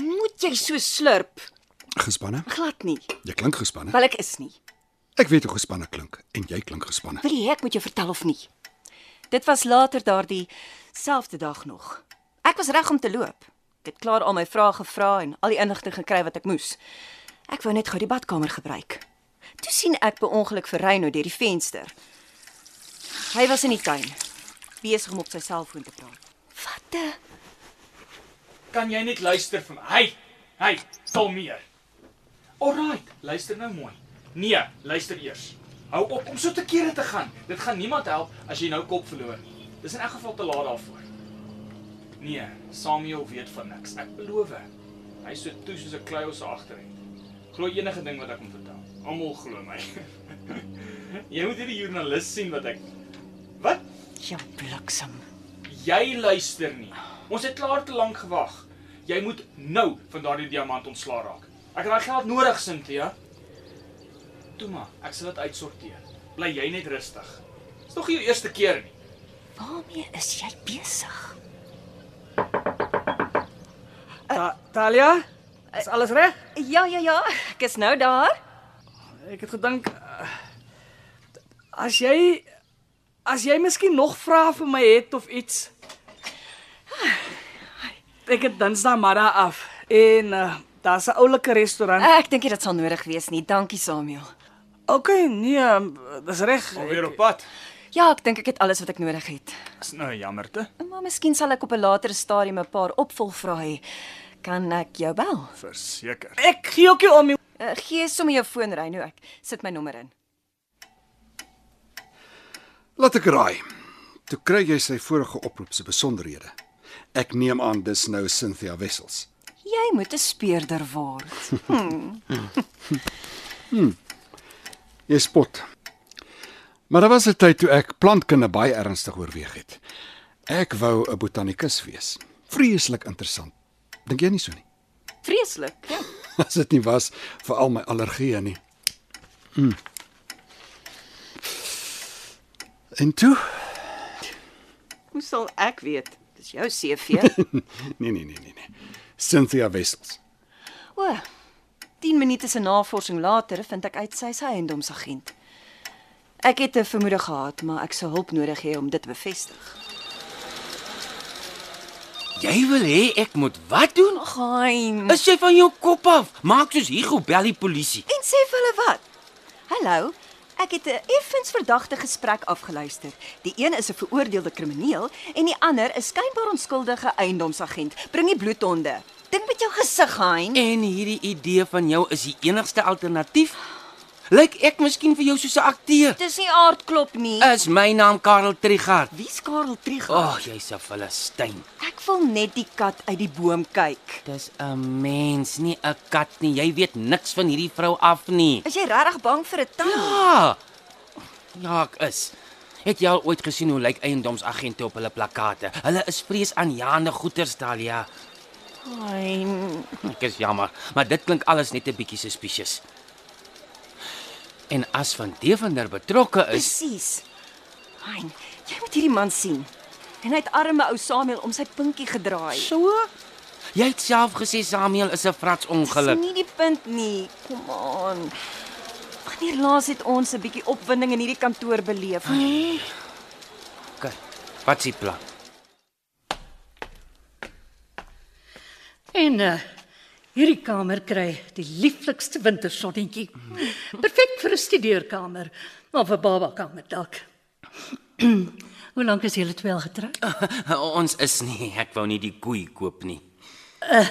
Speaker 3: Moet jy so slurp?
Speaker 2: Gespanne?
Speaker 3: Glad nie.
Speaker 2: Jy klink gespanne.
Speaker 3: Wel ek is nie.
Speaker 2: Ek weet hoe gespanne klink en jy klink gespanne.
Speaker 3: Wil jy ek moet jou vertel of nie? Dit was later daardie selfde dag nog. Ek was reg om te loop. Ek het klaar al my vrae gevra en al die inligting gekry wat ek moes. Ek wou net gou die badkamer gebruik. Toe sien ek beongeluk vir Reyno deur die venster. Hy was in die tuin, besig om op sy selfoon te praat. Watte?
Speaker 7: Kan jy net luister vir my? Hey, hey, kalmeer. Alraai, luister nou mooi. Nee, luister eers. Hou op om so te kere te gaan. Dit gaan niemand help as jy nou kop verloor nie. Dis in elk geval te laat daarvoor. Nee, Samuel weet van niks. Ek beloof. Hy is so toe soos 'n klei ons agter het. Glo enige ding wat ek hom vertel. Almal glo my. [laughs] jy moet hierdie joernalis sien wat ek Wat?
Speaker 3: Ja, bliksem.
Speaker 7: Jy luister nie. Ons het klaar te lank gewag. Jy moet nou van daardie diamant ontslaa raak. Ek het daai geld nodig, Cynthia. Toe maar, ek sal dit uitsorteer. Bly jy net rustig. Dis nog nie jou eerste keer nie.
Speaker 3: Waarmee is jy besig?
Speaker 8: Ta Talia, is alles reg?
Speaker 3: Ja, ja, ja, ek is nou daar.
Speaker 8: Ek het gedink eh, as jy as jy miskien nog vrae vir my het of iets. Ek het Dinsdagmiddag af en uh, daar's 'n oulike restaurant.
Speaker 3: Ek dink nie dit sal nodig wees nie. Dankie, Samuel.
Speaker 8: OK, nee,
Speaker 6: ehm,
Speaker 8: eh, dis reg.
Speaker 7: Alweer op pad.
Speaker 3: Ja, ek dink ek het alles wat ek nodig het.
Speaker 7: Dis nou 'n jammerte
Speaker 3: Maar miskien sal ek op 'n latere stadium 'n paar opvolgvrae hê. Kan ek jou bel?
Speaker 7: verseker.
Speaker 8: Ek gee ookie om. die-
Speaker 3: Uh, gee sommer jou foon ry nou ek sit my nommer in.
Speaker 2: Laat ek raai. Toe kry jy sy vorige oproep se besonderhede. Ek neem aan dis nou Cynthia Wessels.
Speaker 3: Jy moet 'n speurder [laughs] word.
Speaker 2: Jy spot. Maar daar was 'n tyd toe ek plantkunde baie ernstig oorweeg het. Ek wou 'n botanikus wees. Vreeslik interessant. Dink jy nie [laughs] so nie?
Speaker 3: Vreeslik, ja.
Speaker 2: As dit nie was vir al my allergieë nie. Mm. En toe?
Speaker 3: Hoe sal ek weet? Dis jou CV.
Speaker 2: Nee nee nee nee nee. Cynthia Wessels.
Speaker 3: [laughs] O. 10 minute se navorsing later vind ek uit sy is 'n eiendomsagent. Ek het 'n vermoede gehad, maar ek sou hulp nodig hê om dit te bevestig.
Speaker 4: Jy wil hê ek moet wat doen?
Speaker 3: Gaan.
Speaker 4: Is jy van jou kop af? Maak soos Hugo bel die polisie.
Speaker 3: En sê vir hulle wat? Hallo. Ek het 'n effens verdagte gesprek afgeluister. Die een is 'n veroordeelde krimineel en die ander is skynbaar onskuldige eiendomsagent. Bring die bloedhonde. Dink met jou gesig, Hein.
Speaker 4: En hierdie idee van jou is die enigste alternatief? Lyk ek miskien vir jou soos 'n akteur?
Speaker 3: Dis nie aardklop nie. Ah.
Speaker 4: Is my naam Karel Trigard.
Speaker 3: Wie's Karel Trieg?
Speaker 4: Ag, oh, jy's 'n Filistyn.
Speaker 3: Ek wil net die kat uit die boom kyk.
Speaker 4: Dis 'n mens, nie 'n kat nie. Jy weet niks van hierdie vrou af nie.
Speaker 3: Is jy regtig bang vir 'n tang?
Speaker 4: Ja. Ja, ek is. Het jy al ooit gesien hoe lyk eiendomsagente op hulle plakkate? Hulle is vreesaanjaende goeters daal, ja.
Speaker 3: Hein.
Speaker 4: Hm, Ek is jammer, maar dit klink alles net 'n bietjie suspicious. En as van Devender betrokke is,
Speaker 3: Presies. Hein, jy moet hierdie man sien. En hy het arme ou Samuel om sy pinkie gedraai.
Speaker 4: so jy het self gesê Samuel is 'n frats ongeluk.
Speaker 3: Dis nie die punt nie. Kom aan. Wanneer laas het ons 'n bietjie opwinding in hierdie kantoor beleef? Nee.
Speaker 4: Okay. Wat s'ie plan?
Speaker 5: En uh hierdie kamer kry die lieflikste wintersonnetjie. Perfek vir 'n studeerkamer of 'n babakamer dalk. [clears throat] Hoe lank is julle twee al getroud?
Speaker 4: [laughs] Ons is nie, ek wou nie die koei koop nie.
Speaker 5: Uh,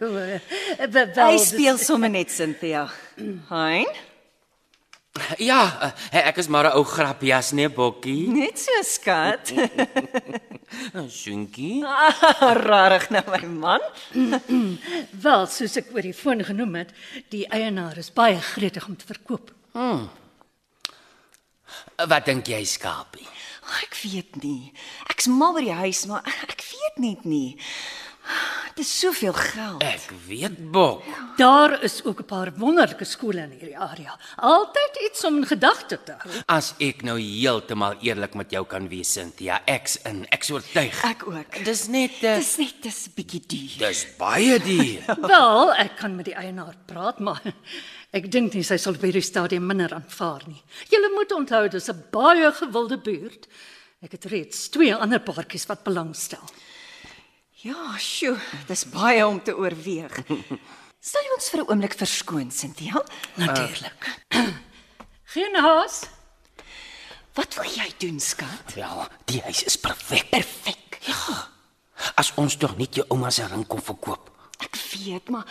Speaker 5: wel,
Speaker 3: Hy
Speaker 5: dis-
Speaker 3: speel sommer net
Speaker 5: [clears throat]
Speaker 3: Cynthia. Hein?
Speaker 4: Ja, eh, ek is maar 'n ou grapjas, nee Bokkie. Nou,
Speaker 3: Net so skat. [laughs]
Speaker 4: Sunkie.
Speaker 3: Rarig nou my man.
Speaker 5: Wel, soos ek oor die foon genoem het, die eienaar is baie gretig om te verkoop.
Speaker 4: Eh, Wat dink jy, Skapie?
Speaker 3: Ag, Ek weet nie. Ek's mal oor die huis, maar ek weet net nie. Dit is soveel geld.
Speaker 4: Ek weet, Bok.
Speaker 5: Daar is ook 'n paar wonderlike skole in hierdie area. Altyd iets om in gedagte te hou.
Speaker 4: As ek nou heeltemal eerlik met jou kan wees, Cynthia, ek's in, ek's oortuig.
Speaker 3: Ek ook.
Speaker 4: Ah, Dis net eh, 'n
Speaker 3: Dis net dis bietjie duur.
Speaker 4: Dis baie duur.
Speaker 5: Wel, ek kan met die eienaar praat, maar ek dink nie sy sal by die stadium minder aanvaar nie. Julle moet onthou dis 'n baie gewilde buurt. Ek het reeds twee ander paartjies wat belangstel.
Speaker 3: Ja, sjoe, dis baie om te
Speaker 5: [laughs]
Speaker 3: oorweeg. Sal jy ons vir 'n oomblik verskoon, Cynthia?
Speaker 5: Natuurlik. Uh. [clears throat] Geen haas.
Speaker 3: Wat wil jy doen, skat?
Speaker 4: Wel, die huis is perfek.
Speaker 3: Perfek. Ja,
Speaker 4: As ons tog net jou ouma se ring kon verkoop.
Speaker 3: ek weet, maar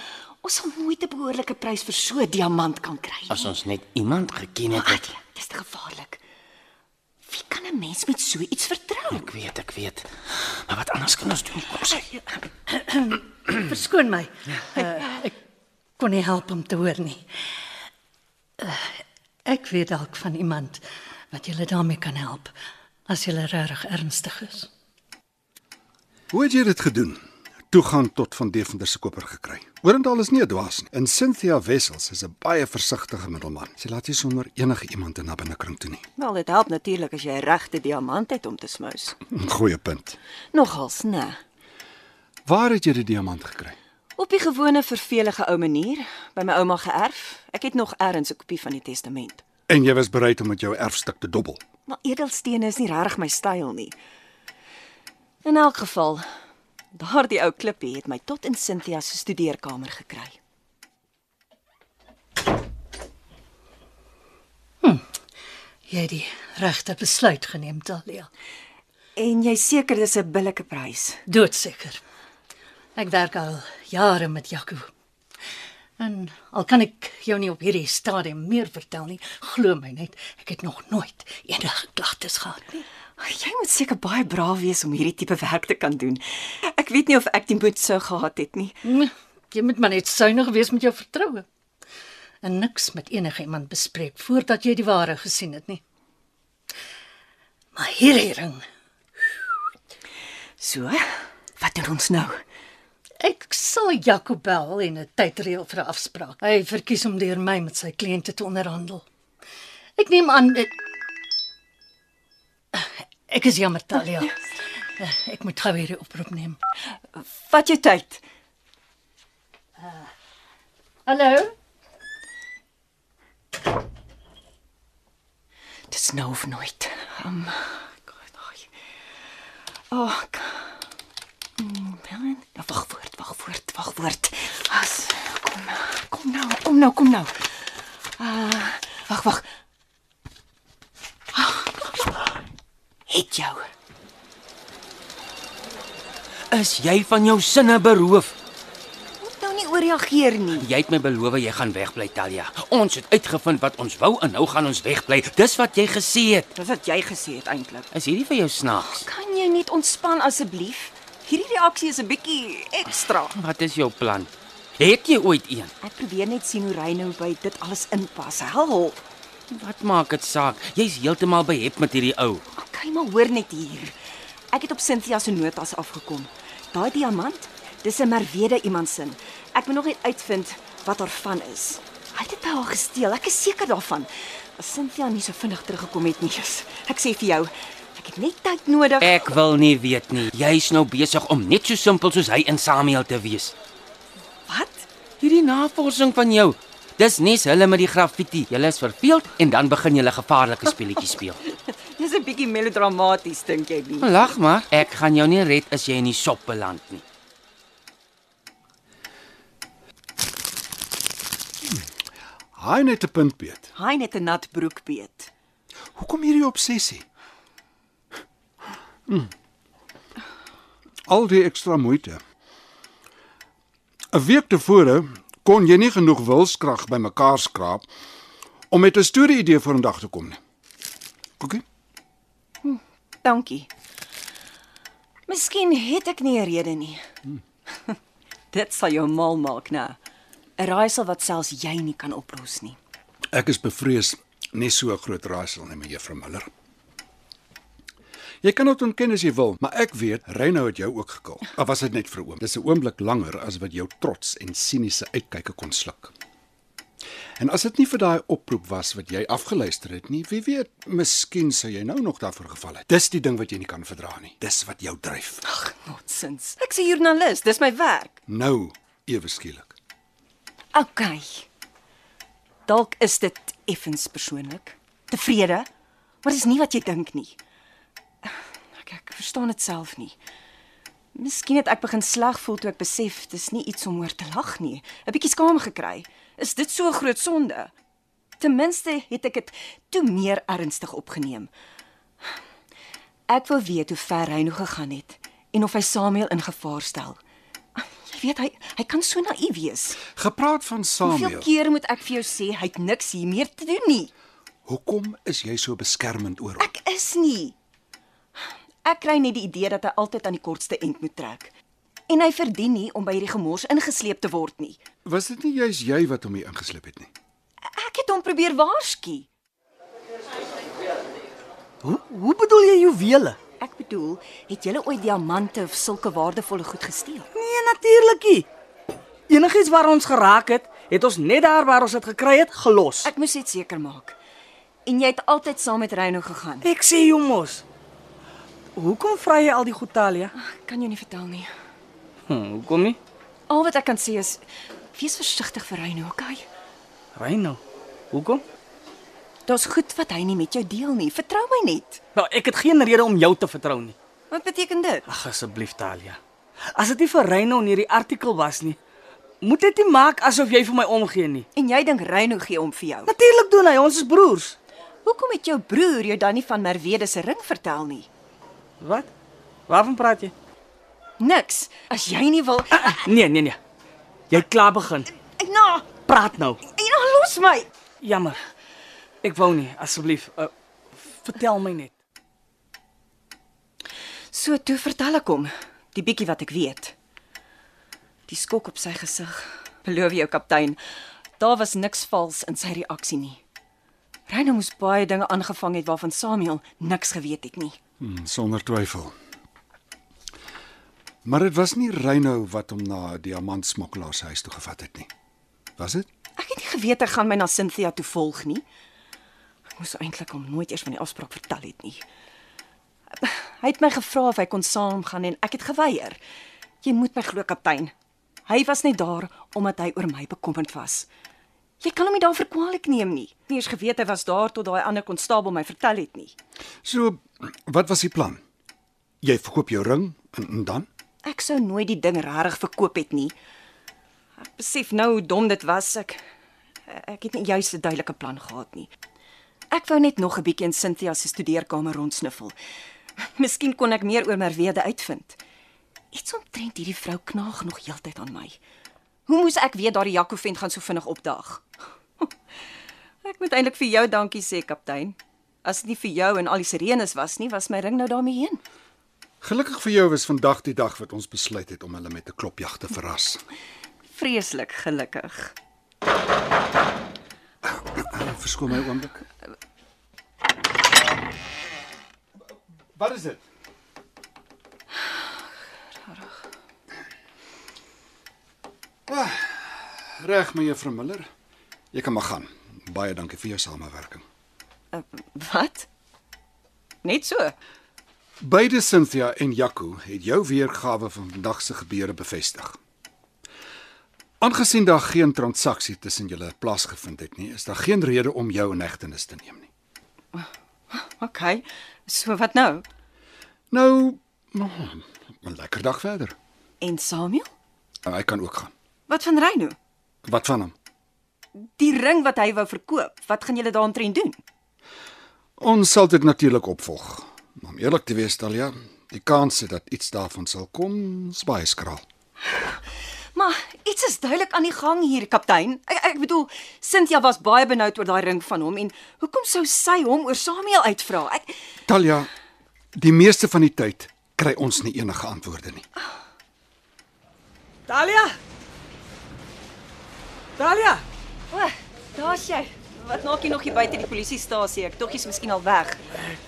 Speaker 3: ons sal nooit 'n behoorlike prys vir so 'n diamant kan kry nie.
Speaker 4: As ons net iemand geken het wat
Speaker 3: Ag, dis te gevaarlik. Wie kan 'n mens met so iets vertrou?
Speaker 4: ek weet, ek weet. Maar wat anders kan ons doen? Kom sê.
Speaker 5: Verskoon my. Uh, ek kon nie help om te hoor nie. Uh, ek weet dalk van iemand wat julle daarmee kan help as julle regtig ernstig is.
Speaker 2: Hoe het jy dit gedoen? Toegang tot van Deventer se koper gekry. Orendal is nie 'n dwaas nie. En Cynthia Wessels is 'n baie versigtige middelman. Sy laat nie sommer enige iemand in haar binnekring toe nie.
Speaker 3: Wel, dit help natuurlik as jy 'n regte diamant het om te smous.
Speaker 2: Goeie punt.
Speaker 3: Nogals, né?
Speaker 2: Waar het jy die diamant gekry?
Speaker 3: Op die gewone vervelige ou manier, by my ouma geërf. Ek het nog eers 'n kopie van die testament.
Speaker 2: En jy was bereid om met jou erfstuk te dobbel.
Speaker 3: Maar edelstene is nie regtig my styl nie. In elk geval, daardie ou klippie het my tot in Cynthia se studeerkamer gekry.
Speaker 5: Jy het die regte besluit geneem, Talia.
Speaker 3: En jy seker dis 'n billike prys.
Speaker 5: Doodseker. Ek werk al jare met Jaco. En al kan ek jou nie op hierdie stadium meer vertel nie, glo my net, ek het nog nooit enige klagtes gehad nie.
Speaker 3: Jy moet seker baie braaf wees om hierdie tipe werk te kan doen. Ek weet nie of ek die moed sou gehad het nie.
Speaker 5: Hm, Jy moet maar net suiwig wees met jou vertroue. En niks met enigiemand bespreek voordat jy die ware gesien het nie. Maar hierdie ring,
Speaker 3: So, wat doen ons nou?
Speaker 5: Ek sal Jaco bel en 'n tyd reël vir 'n afspraak. Hy verkies om deur my met sy kliënte te onderhandel. Ek neem aan dit Ek is jammer Talia. Eh, Ek moet gou hierdie oproep neem.
Speaker 3: Vat jou tyd.
Speaker 5: Hallo?
Speaker 3: Dis nou of nooit. Um God. ai. Oh. k- Mm, Helen, nou wag voort, wag voort, wag voort. As kom nou, kom nou, kom nou, kom nou. Ah, uh, wag, wag. Ah, Het jou.
Speaker 4: Is jy van jou sinne beroof?
Speaker 3: Moet nou nie ooreageer nie.
Speaker 4: Jy het my beloof jy gaan wegbly, Talia. Ons het uitgevind wat ons wou en nou gaan ons wegbly. Dis wat jy gesê het.
Speaker 3: Dis wat jy gesê het eintlik.
Speaker 4: Is hierdie vir jou snaaks?
Speaker 3: Kan jy net ontspan asseblief? Hierdie reaksie is 'n bietjie ekstra.
Speaker 4: Wat is jou plan? Het jy ooit een?
Speaker 3: Ek probeer net sien hoe Rey nou by dit alles inpas. Help.
Speaker 4: Wat maak dit saak? Jy's heeltemal behep met hierdie ou.
Speaker 3: Okay, maar hoor net hier. Ek het op Cynthia se notas afgekom. Daai diamant, dis 'n merwede iemand se. Ek moet nog net uitvind wat haar van is. Hy het dit by haar gesteel. Ek is seker daarvan. As Cynthia nie so vinnig teruggekom het nie, [laughs] Jesus. Ek sê vir jou, ek het net tyd nodig.
Speaker 4: Ek wil nie weet nie. Jy's nou besig om net so simpel soos hy en Samuel te wees.
Speaker 3: Wat?
Speaker 4: Hierdie navorsing van jou. Dis nes hulle met die graffiti. Julle is verveeld en dan begin julle gevaarlike speletjies speel.
Speaker 3: Dis 'n bietjie melodramaties, dink jy nie?
Speaker 4: [laughs] Lag maar. Ek gaan jou nie red as jy in die sop beland nie.
Speaker 2: Haai net 'n punt beet.
Speaker 3: Hy net 'n nat broek beet.
Speaker 2: Hoekom hierdie obsessie? Hm. Al die ekstra moeite. 'n Week tevore kon jy nie genoeg wilskrag bymekaar skraap om met 'n storie idee vir 'n dag te kom nie. OK.
Speaker 3: Dankie. Miskien het ek nie 'n rede nie. [laughs] Dit sal jou mal maak, né? 'n Raaisel wat selfs jy nie kan oplos nie.
Speaker 2: Ek is bevrees nie so 'n groot raaisel nie, mevrou Miller. Jy kan dit ontken as jy wil, maar ek weet Reynou het jou ook gekil. Of was dit net vir 'n oom? Dis 'n oomblik langer as wat jou trots en siniese uitkyke kon sluk. En as dit nie vir daai oproep was wat jy afgeluister het nie, wie weet, miskien sou jy nou nog daarvoor geval het. Dis die ding wat jy nie kan verdra nie. Dis wat jou dryf.
Speaker 3: Ag, nonsens. Ek's 'n joernalis, dis my werk.
Speaker 2: Nou, ewe skielik.
Speaker 3: OK. Dalk is dit effens persoonlik. Tevrede, maar dis nie wat jy dink nie. Ek ek verstaan dit self nie. Miskien het ek begin sleg voel toe ek besef dis nie iets om oor te lag nie. 'n Bietjie skaam gekry. Is dit so 'n groot sonde? Ten minste het ek dit toe meer ernstig opgeneem. Ek wil weet hoe ver hy nog gegaan het en of hy Samuel in gevaar stel. Jy weet hy hy kan so naïef wees.
Speaker 2: Gepraat van
Speaker 3: Hoeveel
Speaker 2: Samuel.
Speaker 3: keer moet ek vir jou sê hy het niks hier meer te doen nie?
Speaker 2: Hoekom is jy so beskermend oor hom?
Speaker 3: Ek is nie. Ek kry net die idee dat hy altyd aan die kortste end moet trek. En hy verdien nie om by hierdie gemors ingesleep te word nie.
Speaker 2: Was dit nie juis jy wat hom hier ingeslip het nie?
Speaker 3: Ek het hom probeer waarsku.
Speaker 6: Hoe hoe bedoel jy juwele?
Speaker 3: Ek bedoel, het jy ooit diamante of sulke waardevolle goed gesteel?
Speaker 6: Nee, natuurlik nie. Enigiets waar ons geraak het, het ons net daar waar ons dit gekry het gelos. Ek,
Speaker 3: Ek moes dit seker maak. En jy het altyd saam met Reyno gegaan.
Speaker 6: ek sê jou mos. Hoekom vra jy al die goed Talia?
Speaker 3: Ek kan jou nie vertel nie.
Speaker 6: Hm, hoekom nie?
Speaker 3: Al wat ek kan sê is wees versigtig vir Reyno, okay?
Speaker 6: Reino. Hoekom?
Speaker 3: Daar's goed wat hy nie met jou deel nie. Vertrou my net.
Speaker 6: Wel, ek het geen rede om jou te vertrou nie.
Speaker 3: Wat beteken dit?
Speaker 6: Ag asseblief Talia. As dit nie vir Reino in hierdie artikel was nie, moet dit nie maak asof jy vir my omgee nie.
Speaker 3: En jy dink Reyno gee om vir jou.
Speaker 6: Natuurlik doen hy, ons is broers.
Speaker 3: Hoekom het jou broer jou dan nie van Merwede se ring vertel nie?
Speaker 6: Wat? Waarvan praat jy?
Speaker 3: Niks. As jy nie wil,
Speaker 6: Ah, ah, [laughs] nee, nee, nee. Jy het klaar begin.
Speaker 3: na,
Speaker 6: Praat nou.
Speaker 3: ja, los my.
Speaker 6: Jammer. Ek wou nie, asseblief. Uh, vertel my net.
Speaker 3: So toe vertel ek hom die bietjie wat ek weet. Die skok op sy gesig. Beloof jou kaptein, daar was niks vals in sy reaksie nie. Reyno moes baie dinge aangevang het waarvan Samuel niks geweet het nie.
Speaker 2: Hmm, sonder twyfel. Maar dit was nie Reynou wat hom na die diamantsmokkelaar se huis toe gevat het nie. Was dit?
Speaker 3: Ek het nie geweet hy gaan my na Cynthia toe volg nie. Ek moes eintlik hom nooit eers van die afspraak vertel het nie. Hy het my gevra of hy kon saamgaan en ek het geweier. Jy moet my glo, kaptein. Hy was net daar omdat hy oor my bekommerd was. Jy kan hom nie daarvoor kwaadlik neem nie. Nie eens geweet hy was daar tot daai ander konstabel my vertel het nie.
Speaker 2: So, wat was die plan? Jy verkoop jou ring en, en dan?
Speaker 3: Ek sou nooit die ding regtig verkoop het nie. Ek besef nou hoe dom dit was. Ek ek het nie juis 'n duidelike plan gehad nie. Ek wou net nog 'n bietjie in Cynthia se studeerkamer rondsniffel. Miskien kon ek meer oor Merwede uitvind. Iets omtrent hierdie vrou knaag nog heeltyd aan my. Hoe moes ek weet daardie Jaco vent gaan so vinnig opdaag? [laughs] Ek moet eintlik vir jou dankie sê, kaptein. As dit nie vir jou en al die sirenes was nie, was my ring nou daarmee heen.
Speaker 2: Gelukkig vir jou was vandag die dag wat ons besluit het om hulle met 'n klopjag te verras.
Speaker 3: Vreeslik gelukkig.
Speaker 2: Verskoon my oomblik. Wat is dit? Reg. Ah, Reg, mevrou Miller. Jy kan maar gaan. Baie dankie vir jou samewerking.
Speaker 3: Wat? Net so.
Speaker 2: Beide Cynthia en Jaco het jou weergawe van vandag se gebeure bevestig. Aangesien daar geen transaksie tussen julle plaasgevind het nie, is daar geen rede om jou in hegtenis te neem nie.
Speaker 3: OK. So wat nou?
Speaker 2: Nou, oh, 'n lekker dag verder.
Speaker 3: En Samuel?
Speaker 2: En hy kan ook gaan.
Speaker 3: Wat van Reyno?
Speaker 2: Wat van hom?
Speaker 3: Die ring wat hy wou verkoop, wat gaan julle daaroor doen?
Speaker 2: Ons sal dit natuurlik opvolg. Maar om eerlik te wees, Talia, die kans dat iets daarvan sal kom, is baie skraal.
Speaker 3: Maar iets is duidelik aan die gang hier, kaptein. Ek, ek bedoel, Cynthia was baie benoud oor daai ring van hom en hoekom sou sy hom oor Samuel uitvra? Ek
Speaker 2: Talia, die meeste van die tyd kry ons nie enige antwoorde nie.
Speaker 8: Talia. Talia.
Speaker 3: O, daar's jy. Wat maak jy nog hier buite die polisiestasie? Ek dog jy's miskien al weg.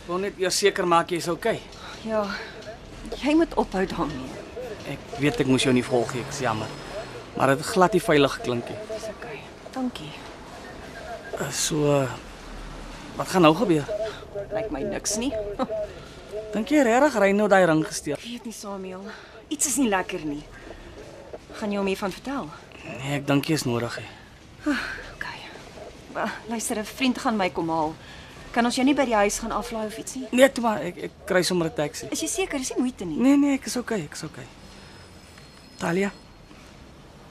Speaker 6: Wil net eers seker maak jy's okay.
Speaker 3: Ja. Jy moet ophou daarmee.
Speaker 6: Ek weet ek moes jou nie volg nie, ek's jammer. Maar dit het glad nie veilig geklink nie.
Speaker 3: Dis okay. Dankie.
Speaker 6: Uh, So uh, wat gaan nou gebeur?
Speaker 3: Lyk my niks nie.
Speaker 6: Dink jy regtig Reyno daai ring gesteel?
Speaker 3: Weet nie Samuel. Iets is nie lekker nie. Gaan jy hom hiervan vertel?
Speaker 6: Nee, ek dink jy is nodig. He.
Speaker 3: OK. Wel, luister, 'n vriend gaan my kom haal. Kan ons jou nie by die huis gaan aflaai of iets nie?
Speaker 6: Nee, toe maar ek ek kry sommer 'n taxi.
Speaker 3: Is jy seker? Dis nie moeite nie.
Speaker 6: Nee nee, ek is okay, ek is okay. Talia.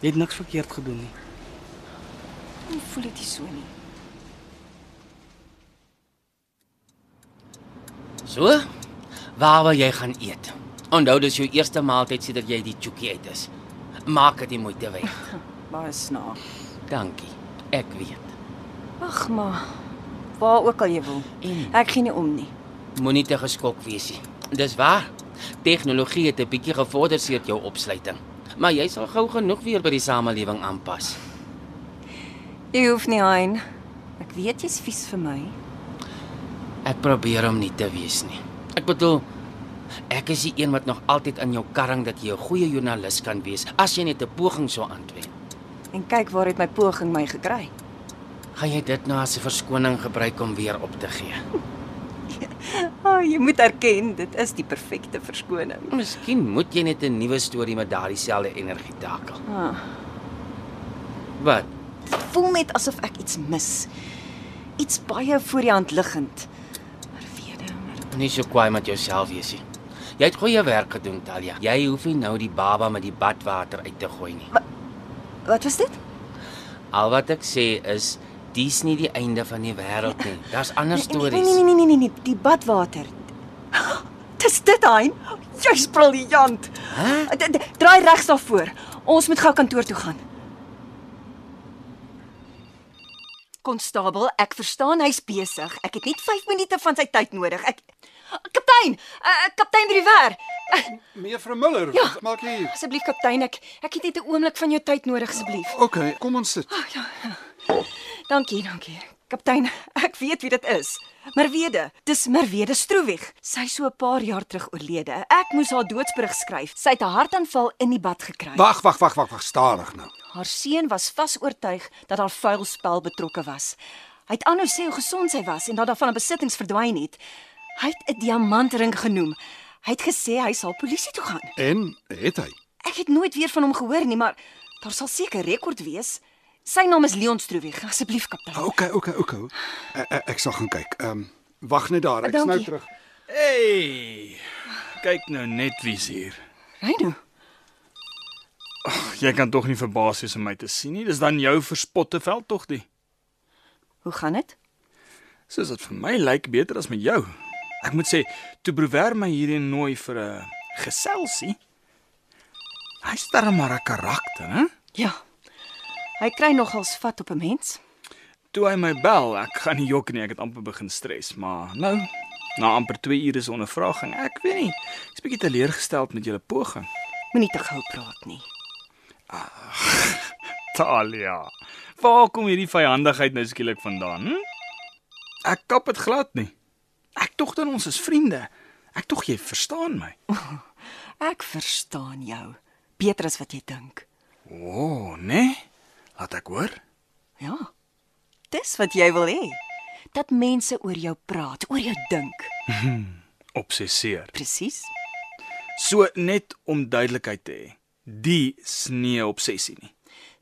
Speaker 6: Jy het niks verkeerd gedoen nie.
Speaker 3: Ek voel dit nie so nie.
Speaker 4: So? Waar wil jy gaan eet? Onthou dis jou eerste maaltyd sedert jy die chookie uit is. Maak dit die moeite
Speaker 6: [laughs]
Speaker 4: werd.
Speaker 3: Baie snaaks.
Speaker 4: Dankie. Ek weet.
Speaker 3: Ag, maar waar ook al jy wil.
Speaker 4: En?
Speaker 3: Ek gee nie om nie.
Speaker 4: Moenie te geskok wees nie. Dis waar. Tegnologie het 'n bietjie gevorder sedert jou opsluiting, maar jy sal gou genoeg weer by die samelewing aanpas.
Speaker 3: Jy hoef nie hein. Ek weet jy's vies vir my.
Speaker 4: Ek probeer om nie te wees nie. Ek bedoel ek is die een wat nog altyd in jou karring dat jy 'n goeie joernalis kan wees as jy net 'n poging sou aanwend.
Speaker 3: En kyk waar het my poging my gekry.
Speaker 4: Gaan jy dit nou as 'n verskoning gebruik om weer op te gee?
Speaker 3: O, oh, jy moet erken, dit is die perfekte verskoning.
Speaker 4: Miskien moet jy net 'n nuwe storie met daardie selfde energie takel.
Speaker 3: Ah.
Speaker 4: Wat?
Speaker 3: voel net asof ek iets mis. Iets baie voor die hand liggend. Merwede, Merwede.
Speaker 4: Moenie so kwaai met jouself wees nie. Jy het goeie werk gedoen, Talia. Jy hoef nie nou die baba met die badwater uit te gooi nie.
Speaker 3: Wat was dit?
Speaker 4: Al wat ek sê is dis nie die einde van die wêreld nie. Daar's ander
Speaker 3: Nee nee
Speaker 4: stories.
Speaker 3: nee nee nee, nee, die badwater. [gasps] Dis dit daai. Jy's briljant.
Speaker 4: Hæ?
Speaker 3: D- d- Draai regs daarvoor. Ons moet gou kantoor toe gaan. Konstabel, ek verstaan hy's besig. Ek het net 5 minute van sy tyd nodig. Ek Kaptein, uh, kaptein Rivier. Uh,
Speaker 2: Mevrou Miller,
Speaker 3: Ja.
Speaker 2: wat maak jy hier?
Speaker 3: asseblief kaptein, ek ek het net 'n oomblik van jou tyd nodig asseblief.
Speaker 2: OK, kom ons sit.
Speaker 3: Dankie, dankie. Kaptein, ek weet wie dit is. Merwede, dis Merwede Stroewig. Sy is so 'n paar jaar terug oorlede. Ek moes haar doodsbrug skryf. Sy het 'n hartaanval in die bad gekry.
Speaker 2: Wag, wag, wag, wag, wag, stadig nou.
Speaker 3: Haar seun was vasoortuig dat daar vuil spel betrokke was. Hy het aanhou sê hoe gesond sy was en dat daar van 'n besittings verdwyn het. Hy het 'n diamantring genoem. Hy het gesê hy sal polisie toe gaan.
Speaker 2: En het hy?
Speaker 3: Ek het nooit weer van hom gehoor nie, maar daar sal seker rekord wees. Sy naam is Leon Stroewig. Asseblief, kaptein.
Speaker 2: OK, OK, OK. Ek, ek, ek sal gaan kyk. Ehm um, wag net daar, ek's nou
Speaker 3: Dankie.
Speaker 2: terug.
Speaker 7: Hey. Kyk nou net wie's hier.
Speaker 3: Reino.
Speaker 7: Ag, Jy kan tog nie verbaas wees om my te sien nie. Dis dan jou verspotte veldtogtie.
Speaker 3: Hoe gaan dit?
Speaker 7: Soos dit vir my lyk beter as met jou. Ek moet sê, toe Brouwer my hierheen nooi vir 'n geselsie. Hy's darem maar 'n karakter, hè?
Speaker 3: Ja. Hy kry nogals vat op 'n mens.
Speaker 7: Toe hy my bel, ek gaan nie jok nie, ek het amper begin stres, maar nou, na amper 2 ure se ondervraging, ek weet nie, ek's bietjie teleurgesteld met julle poging.
Speaker 3: Moenie te gou praat nie.
Speaker 7: Talia. Waar kom hierdie vyandigheid nou skielik vandaan? Hm? Ek kap dit glad nie. Ek tog dan ons is vriende. Ek tog jy verstaan my.
Speaker 3: Ek verstaan jou beter as wat jy dink.
Speaker 7: O, oh, nee. Laat ek hoor.
Speaker 3: Ja. Dis wat jy wil hê. Dat mense oor jou praat, oor jou dink.
Speaker 7: Obsesseer.
Speaker 3: Presies.
Speaker 7: So net om duidelikheid te hê. Die snee obsessie nie.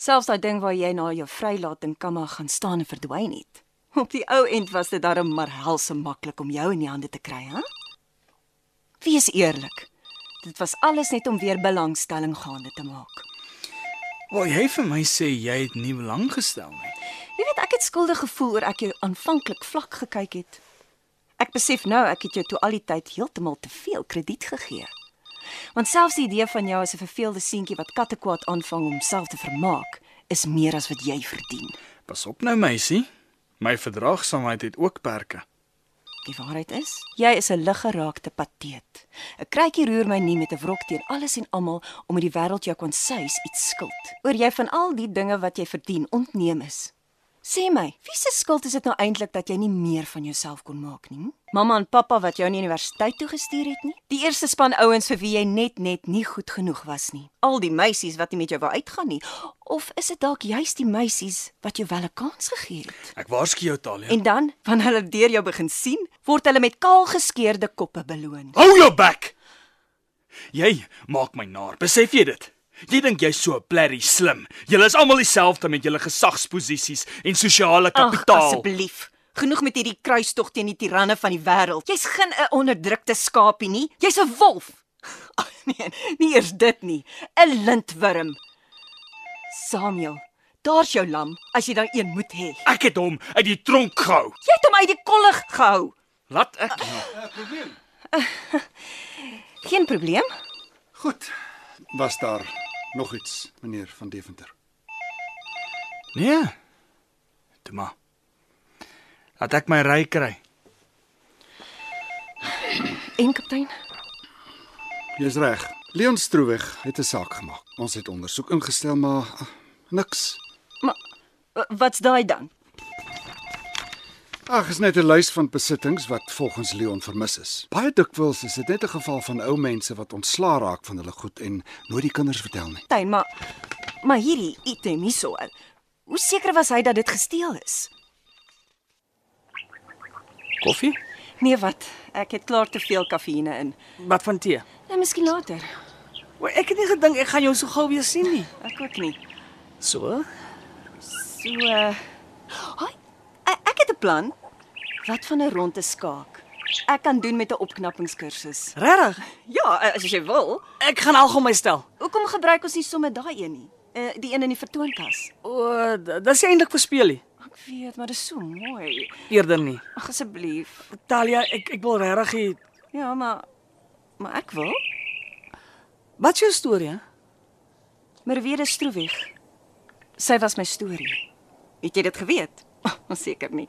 Speaker 3: Selfs daai ding waar jy na jou vrylating kamma gaan staan en verdwyn het. Op die ou end was dit darem maar helse maklik om jou in die hande te kry, hè? Wees eerlik. Dit was alles net om weer belangstelling gaande te maak.
Speaker 7: Wil jy vir my sê jy het nie belang gestel nie?
Speaker 3: Jy weet ek het skuldig gevoel oor ek jou aanvanklik vlak gekyk het. Ek besef nou ek het jou toe al die tyd heeltemal te veel krediet gegee. Want selfs die idee van jou as 'n verveelde seentjie wat kattekwaad aanvang om homself te vermaak, is meer as wat jy verdien.
Speaker 7: Pas op nou meisie. My verdraagsaamheid het ook perke.
Speaker 3: Die waarheid is, jy is 'n liggeraakte pateet. 'n Kruikie roer my nie met 'n wrok teen alles en almal om in die wêreld jou kon suis iets skuld. Oor jy van al die dinge wat jy verdien ontneem is. Sê my, wie se skuld is dit nou eintlik dat jy nie meer van jouself kon maak nie? hm? Mamma en pappa wat jou nie universiteit toe gestuur het nie? Die eerste span ouens vir wie jy net net nie goed genoeg was nie. Al die meisies wat nie met jou wou uitgaan nie. Of is dit dalk juis die meisies wat jou wel 'n kans gegee het?
Speaker 7: Ek waarsku jou Talia.
Speaker 3: En dan, wanneer hulle deur jou begin sien, word hulle met kaal geskeurde koppe beloon.
Speaker 7: Hou jou bek. Jy maak my naar. Besef jy dit? Jy dink jy's so blerry slim. Julle is almal dieselfde met julle gesagsposisies en
Speaker 3: Ag,
Speaker 7: sosiale kapitaal.
Speaker 3: asseblief. Genoeg met hierdie kruistog teen die tiranne van die wêreld. Jy's geen 'n onderdrukte skaapie nie. Jy's 'n wolf. [laughs] Ag nee, nie eers dit nie. 'n Lintwurm. Samuel, daar's jou lam as jy dan een moet hê.
Speaker 7: ek het hom uit die tronk gehou.
Speaker 3: Jy het hom uit die kollig gehou.
Speaker 7: Laat ek nou.
Speaker 3: Geen probleem.
Speaker 2: Goed. Was daar nog iets, meneer van Deventer?
Speaker 7: Nee. Toe maar. Laat ek my ry kry.
Speaker 3: En kaptein,
Speaker 2: Jy's reg. Leon Stroeweg het 'n saak gemaak. Ons het ondersoek ingestel, maar ah, niks.
Speaker 3: maar wa- wat's daai dan?
Speaker 2: Ag, is net 'n lys van besittings wat volgens Leon vermis is. Baie dikwels is dit net 'n geval van ou mense wat ontslaa raak van hulle goed en nooit die kinders vertel nie.
Speaker 3: kaptein, maar maar hierdie item hierso. eh, Hoe seker was hy dat dit gesteel is?
Speaker 6: Koffie?
Speaker 3: Nee, wat? Ek het klaar te veel kafeïne in.
Speaker 6: Wat van tee?
Speaker 3: Nou miskien later.
Speaker 6: O, ek het nie gedink ek gaan jou so gou weer sien nie.
Speaker 3: Ek ook nie.
Speaker 6: So?
Speaker 3: So uh Hoi. e- Ek het 'n plan. Wat van 'n ronde skaak? Ek kan doen met 'n opknappingskursus.
Speaker 6: Regtig?
Speaker 3: Ja, eh, as jy wil.
Speaker 6: Ek gaan algom my stel.
Speaker 3: Hoekom gebruik ons nie sommer daai een nie? Uh die een in die vertoonkas.
Speaker 6: O, dis eintlik vir speelie.
Speaker 3: Ek weet, maar dit is so mooi.
Speaker 6: Eerder nie.
Speaker 3: Ag asseblief.
Speaker 6: Talia, ek ek wil regtig hê-
Speaker 3: Ja, maar maar ek wil.
Speaker 6: Wat is jou storie? hè?
Speaker 3: Merwede Stroeweg. Sy was my storie. Het jy dit geweet? [laughs] Oh, Seker nie.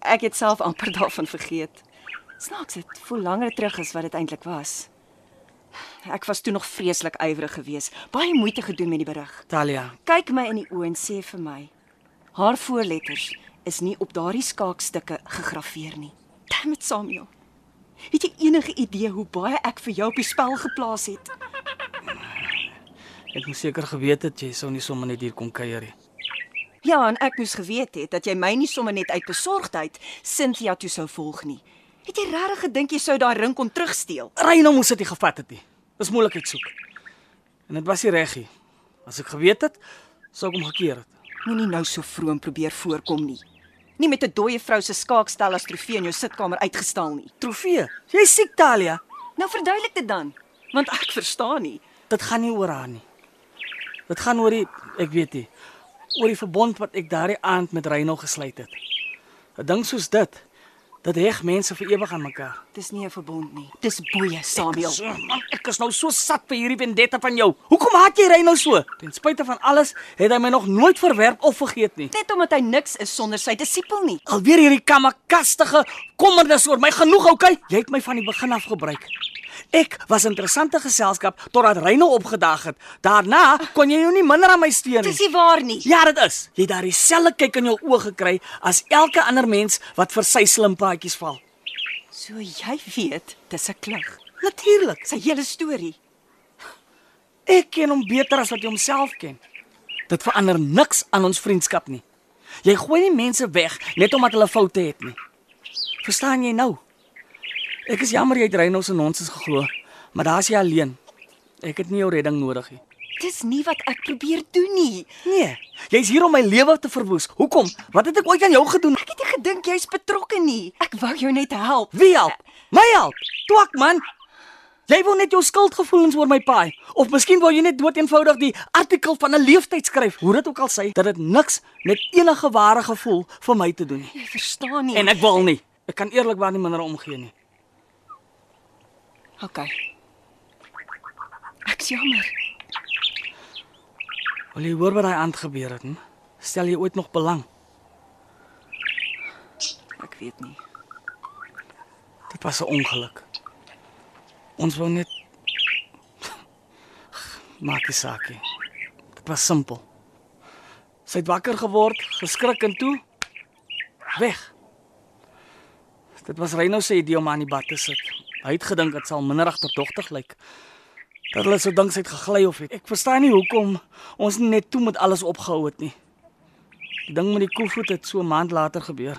Speaker 3: Ek het self amper daarvan vergeet. Snaaks dit voel langer terug as wat dit eintlik was. Ek was toe nog vreeslik ywerig geweest, baie moeite gedoen met die berig.
Speaker 6: Talia,
Speaker 3: Kyk my in die oë en sê vir my. Haar voorletters is nie op daardie skaakstukke gegraveer nie. Damn it, Samuel. Het jy enige idee hoe baie ek vir jou op die spel geplaas het?
Speaker 6: Ek moes seker geweet het jy sou nie sommer net hier kom kuier nie.
Speaker 3: Ja, en ek moes geweet het dat jy my nie sommer net uit besorgdheid Cynthia toe sou volg nie. Het jy regtig gedink jy sou daai ring kon terugsteel?
Speaker 6: Reyno moes dit nie gevat het nie. Dis moeilikheid soek. En dit was nie reg nie. As ek geweet het, sou ek hom gekeer het.
Speaker 3: Moenie nou so vroom probeer voorkom nie. Nie met 'n dooie vrou se skaakstel as trofee in jou sitkamer uitgestal nie.
Speaker 6: Trofee. Jy siek Talia.
Speaker 3: Nou verduidelik dit dan, want ek verstaan nie.
Speaker 6: Dit gaan nie oor haar nie. Dit gaan oor die ek weet nie, oor die verbond wat ek daardie aand met Reyno gesluit het. 'n Ding soos dit, dit heg mense vir ewig aan mekaar.
Speaker 3: Dis nie 'n verbond nie. Dis boeye, Samuel.
Speaker 6: So, man, ek is nou so sat vir hierdie vendetta van jou. Hoekom haat jy Reyno so? Ten spyte van alles het hy my nog nooit verwerp of vergeet nie.
Speaker 3: Net omdat hy niks is sonder sy disipel nie.
Speaker 6: Alweer hierdie kamakastige kommernis oor my genoeg, okay? Jy het my van die begin af gebruik. Ek was 'n interessante geselskap totdat Reyno opgedaag het. Daarna kon jy jou nie minder aan my steun nie.
Speaker 3: Dis nie waar nie.
Speaker 6: Ja, dit is. Jy het daardie selfe kyk in jou oë gekry as elke ander mens wat vir sy slim paadjies val.
Speaker 3: So jy weet, dis 'n klug.
Speaker 6: Natuurlik.
Speaker 3: Sy hele storie.
Speaker 6: Ek ken hom beter as wat hy homself ken. Dit verander niks aan ons vriendskap nie. Jy gooi nie mense weg net omdat hulle foute het nie. Verstaan jy nou? Ek is jammer jy het Reynos en ons is geglo, maar daar's jy alleen. Ek het nie jou redding nodig nie.
Speaker 3: Dis nie wat ek probeer doen nie.
Speaker 6: Nee, jy's hier om my lewe te verwoes. Hoekom? Wat het ek ooit aan jou gedoen?
Speaker 3: Ek het nie gedink jy's betrokke nie. Ek wou jou net help.
Speaker 6: Wie help? My help. Twak man. Jy wou net jou skuldgevoelens oor my paai of miskien wou jy net dood eenvoudig die artikel van 'n leeftyd skryf. Hoe dit ook al sê, dat dit niks met enige ware gevoel vir my te doen het.
Speaker 3: Jy verstaan nie.
Speaker 6: En ek wil nie. Ek kan eerlikwaar nie minder omgee nie.
Speaker 3: Okay. Ek's jammer.
Speaker 6: Wil jy hoor wat daai aand gebeur het? Hm? Stel jy ooit nog belang?
Speaker 3: Ek weet nie.
Speaker 6: Dit was 'n ongeluk. Ons wou net [laughs] maak die saak. nie. Dit was simpel. Sy het wakker geword, geskrik en toe weg. Dit was Reyno se idee om haar in die bad te sit. Hy het gedink dit sal minder agterdogtig lyk. Dat hulle sou dink sy het gegly of iets. Ek verstaan nie hoekom ons nie net toe met alles opgehou het nie. Die ding met die koevoet het so 'n maand later gebeur.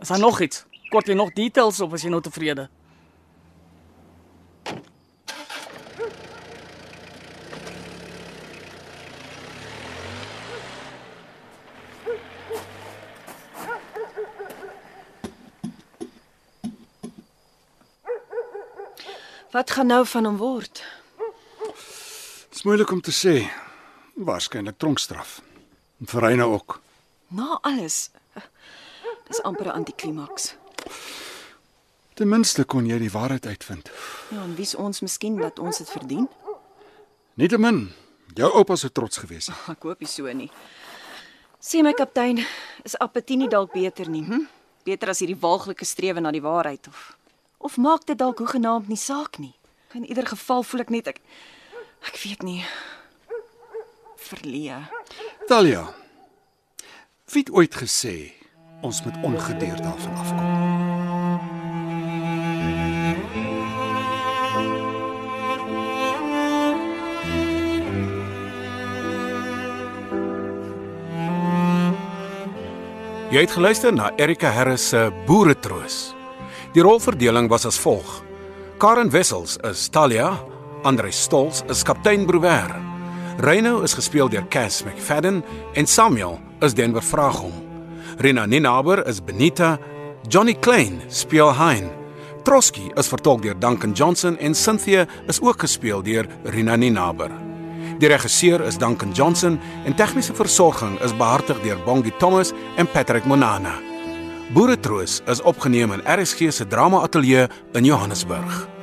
Speaker 6: Is daar nog iets? Kort jy nog details of is jy nou tevrede?
Speaker 3: Wat gaan nou van hom word?
Speaker 2: Dis moeilik om te sê. Waarskynlik tronkstraf. En vir Reyna ook.
Speaker 3: Na alles. Dis amper 'n antiklimaks.
Speaker 2: Ten minste kon jy die waarheid uitvind.
Speaker 3: Ja, en wie's ons miskien dat ons dit verdien?
Speaker 2: Nietemin, jou oupa sou trots gewees het.
Speaker 3: Ek hoop nie so nie. Sê my kaptein, is apatie nie dalk beter nie? Hm? Beter as hierdie waaglike strewe na die waarheid of of maak dit dalk hoegenaamd nie saak nie. In ieder geval voel ek net ek ek weet nie. Verleë.
Speaker 2: Talia. Wie het ooit gesê ons moet ongedeerd daarvan afkom?
Speaker 1: [laughs] Jy het geluister na Erika Harris se Boeretroos. Die rolverdeling was as volg: Karen Wissels is Talia, Andre Stols is kaptein Brouwer. Reino is gespeel deur Cass McFadden en Samuel is Denver Vraagom. Rina Ninaber is Benita, Johnny Klein speel Hein. Troski is vertolk deur Duncan Johnson en Cynthia is ook gespeel deur Rina Ninaber. Die regisseur is Duncan Johnson en tegniese versorging is behartig deur Bongie Thomas en Patrick Monana. Boeretroos is opgeneem in RSG se Drama Ateljee in Johannesburg.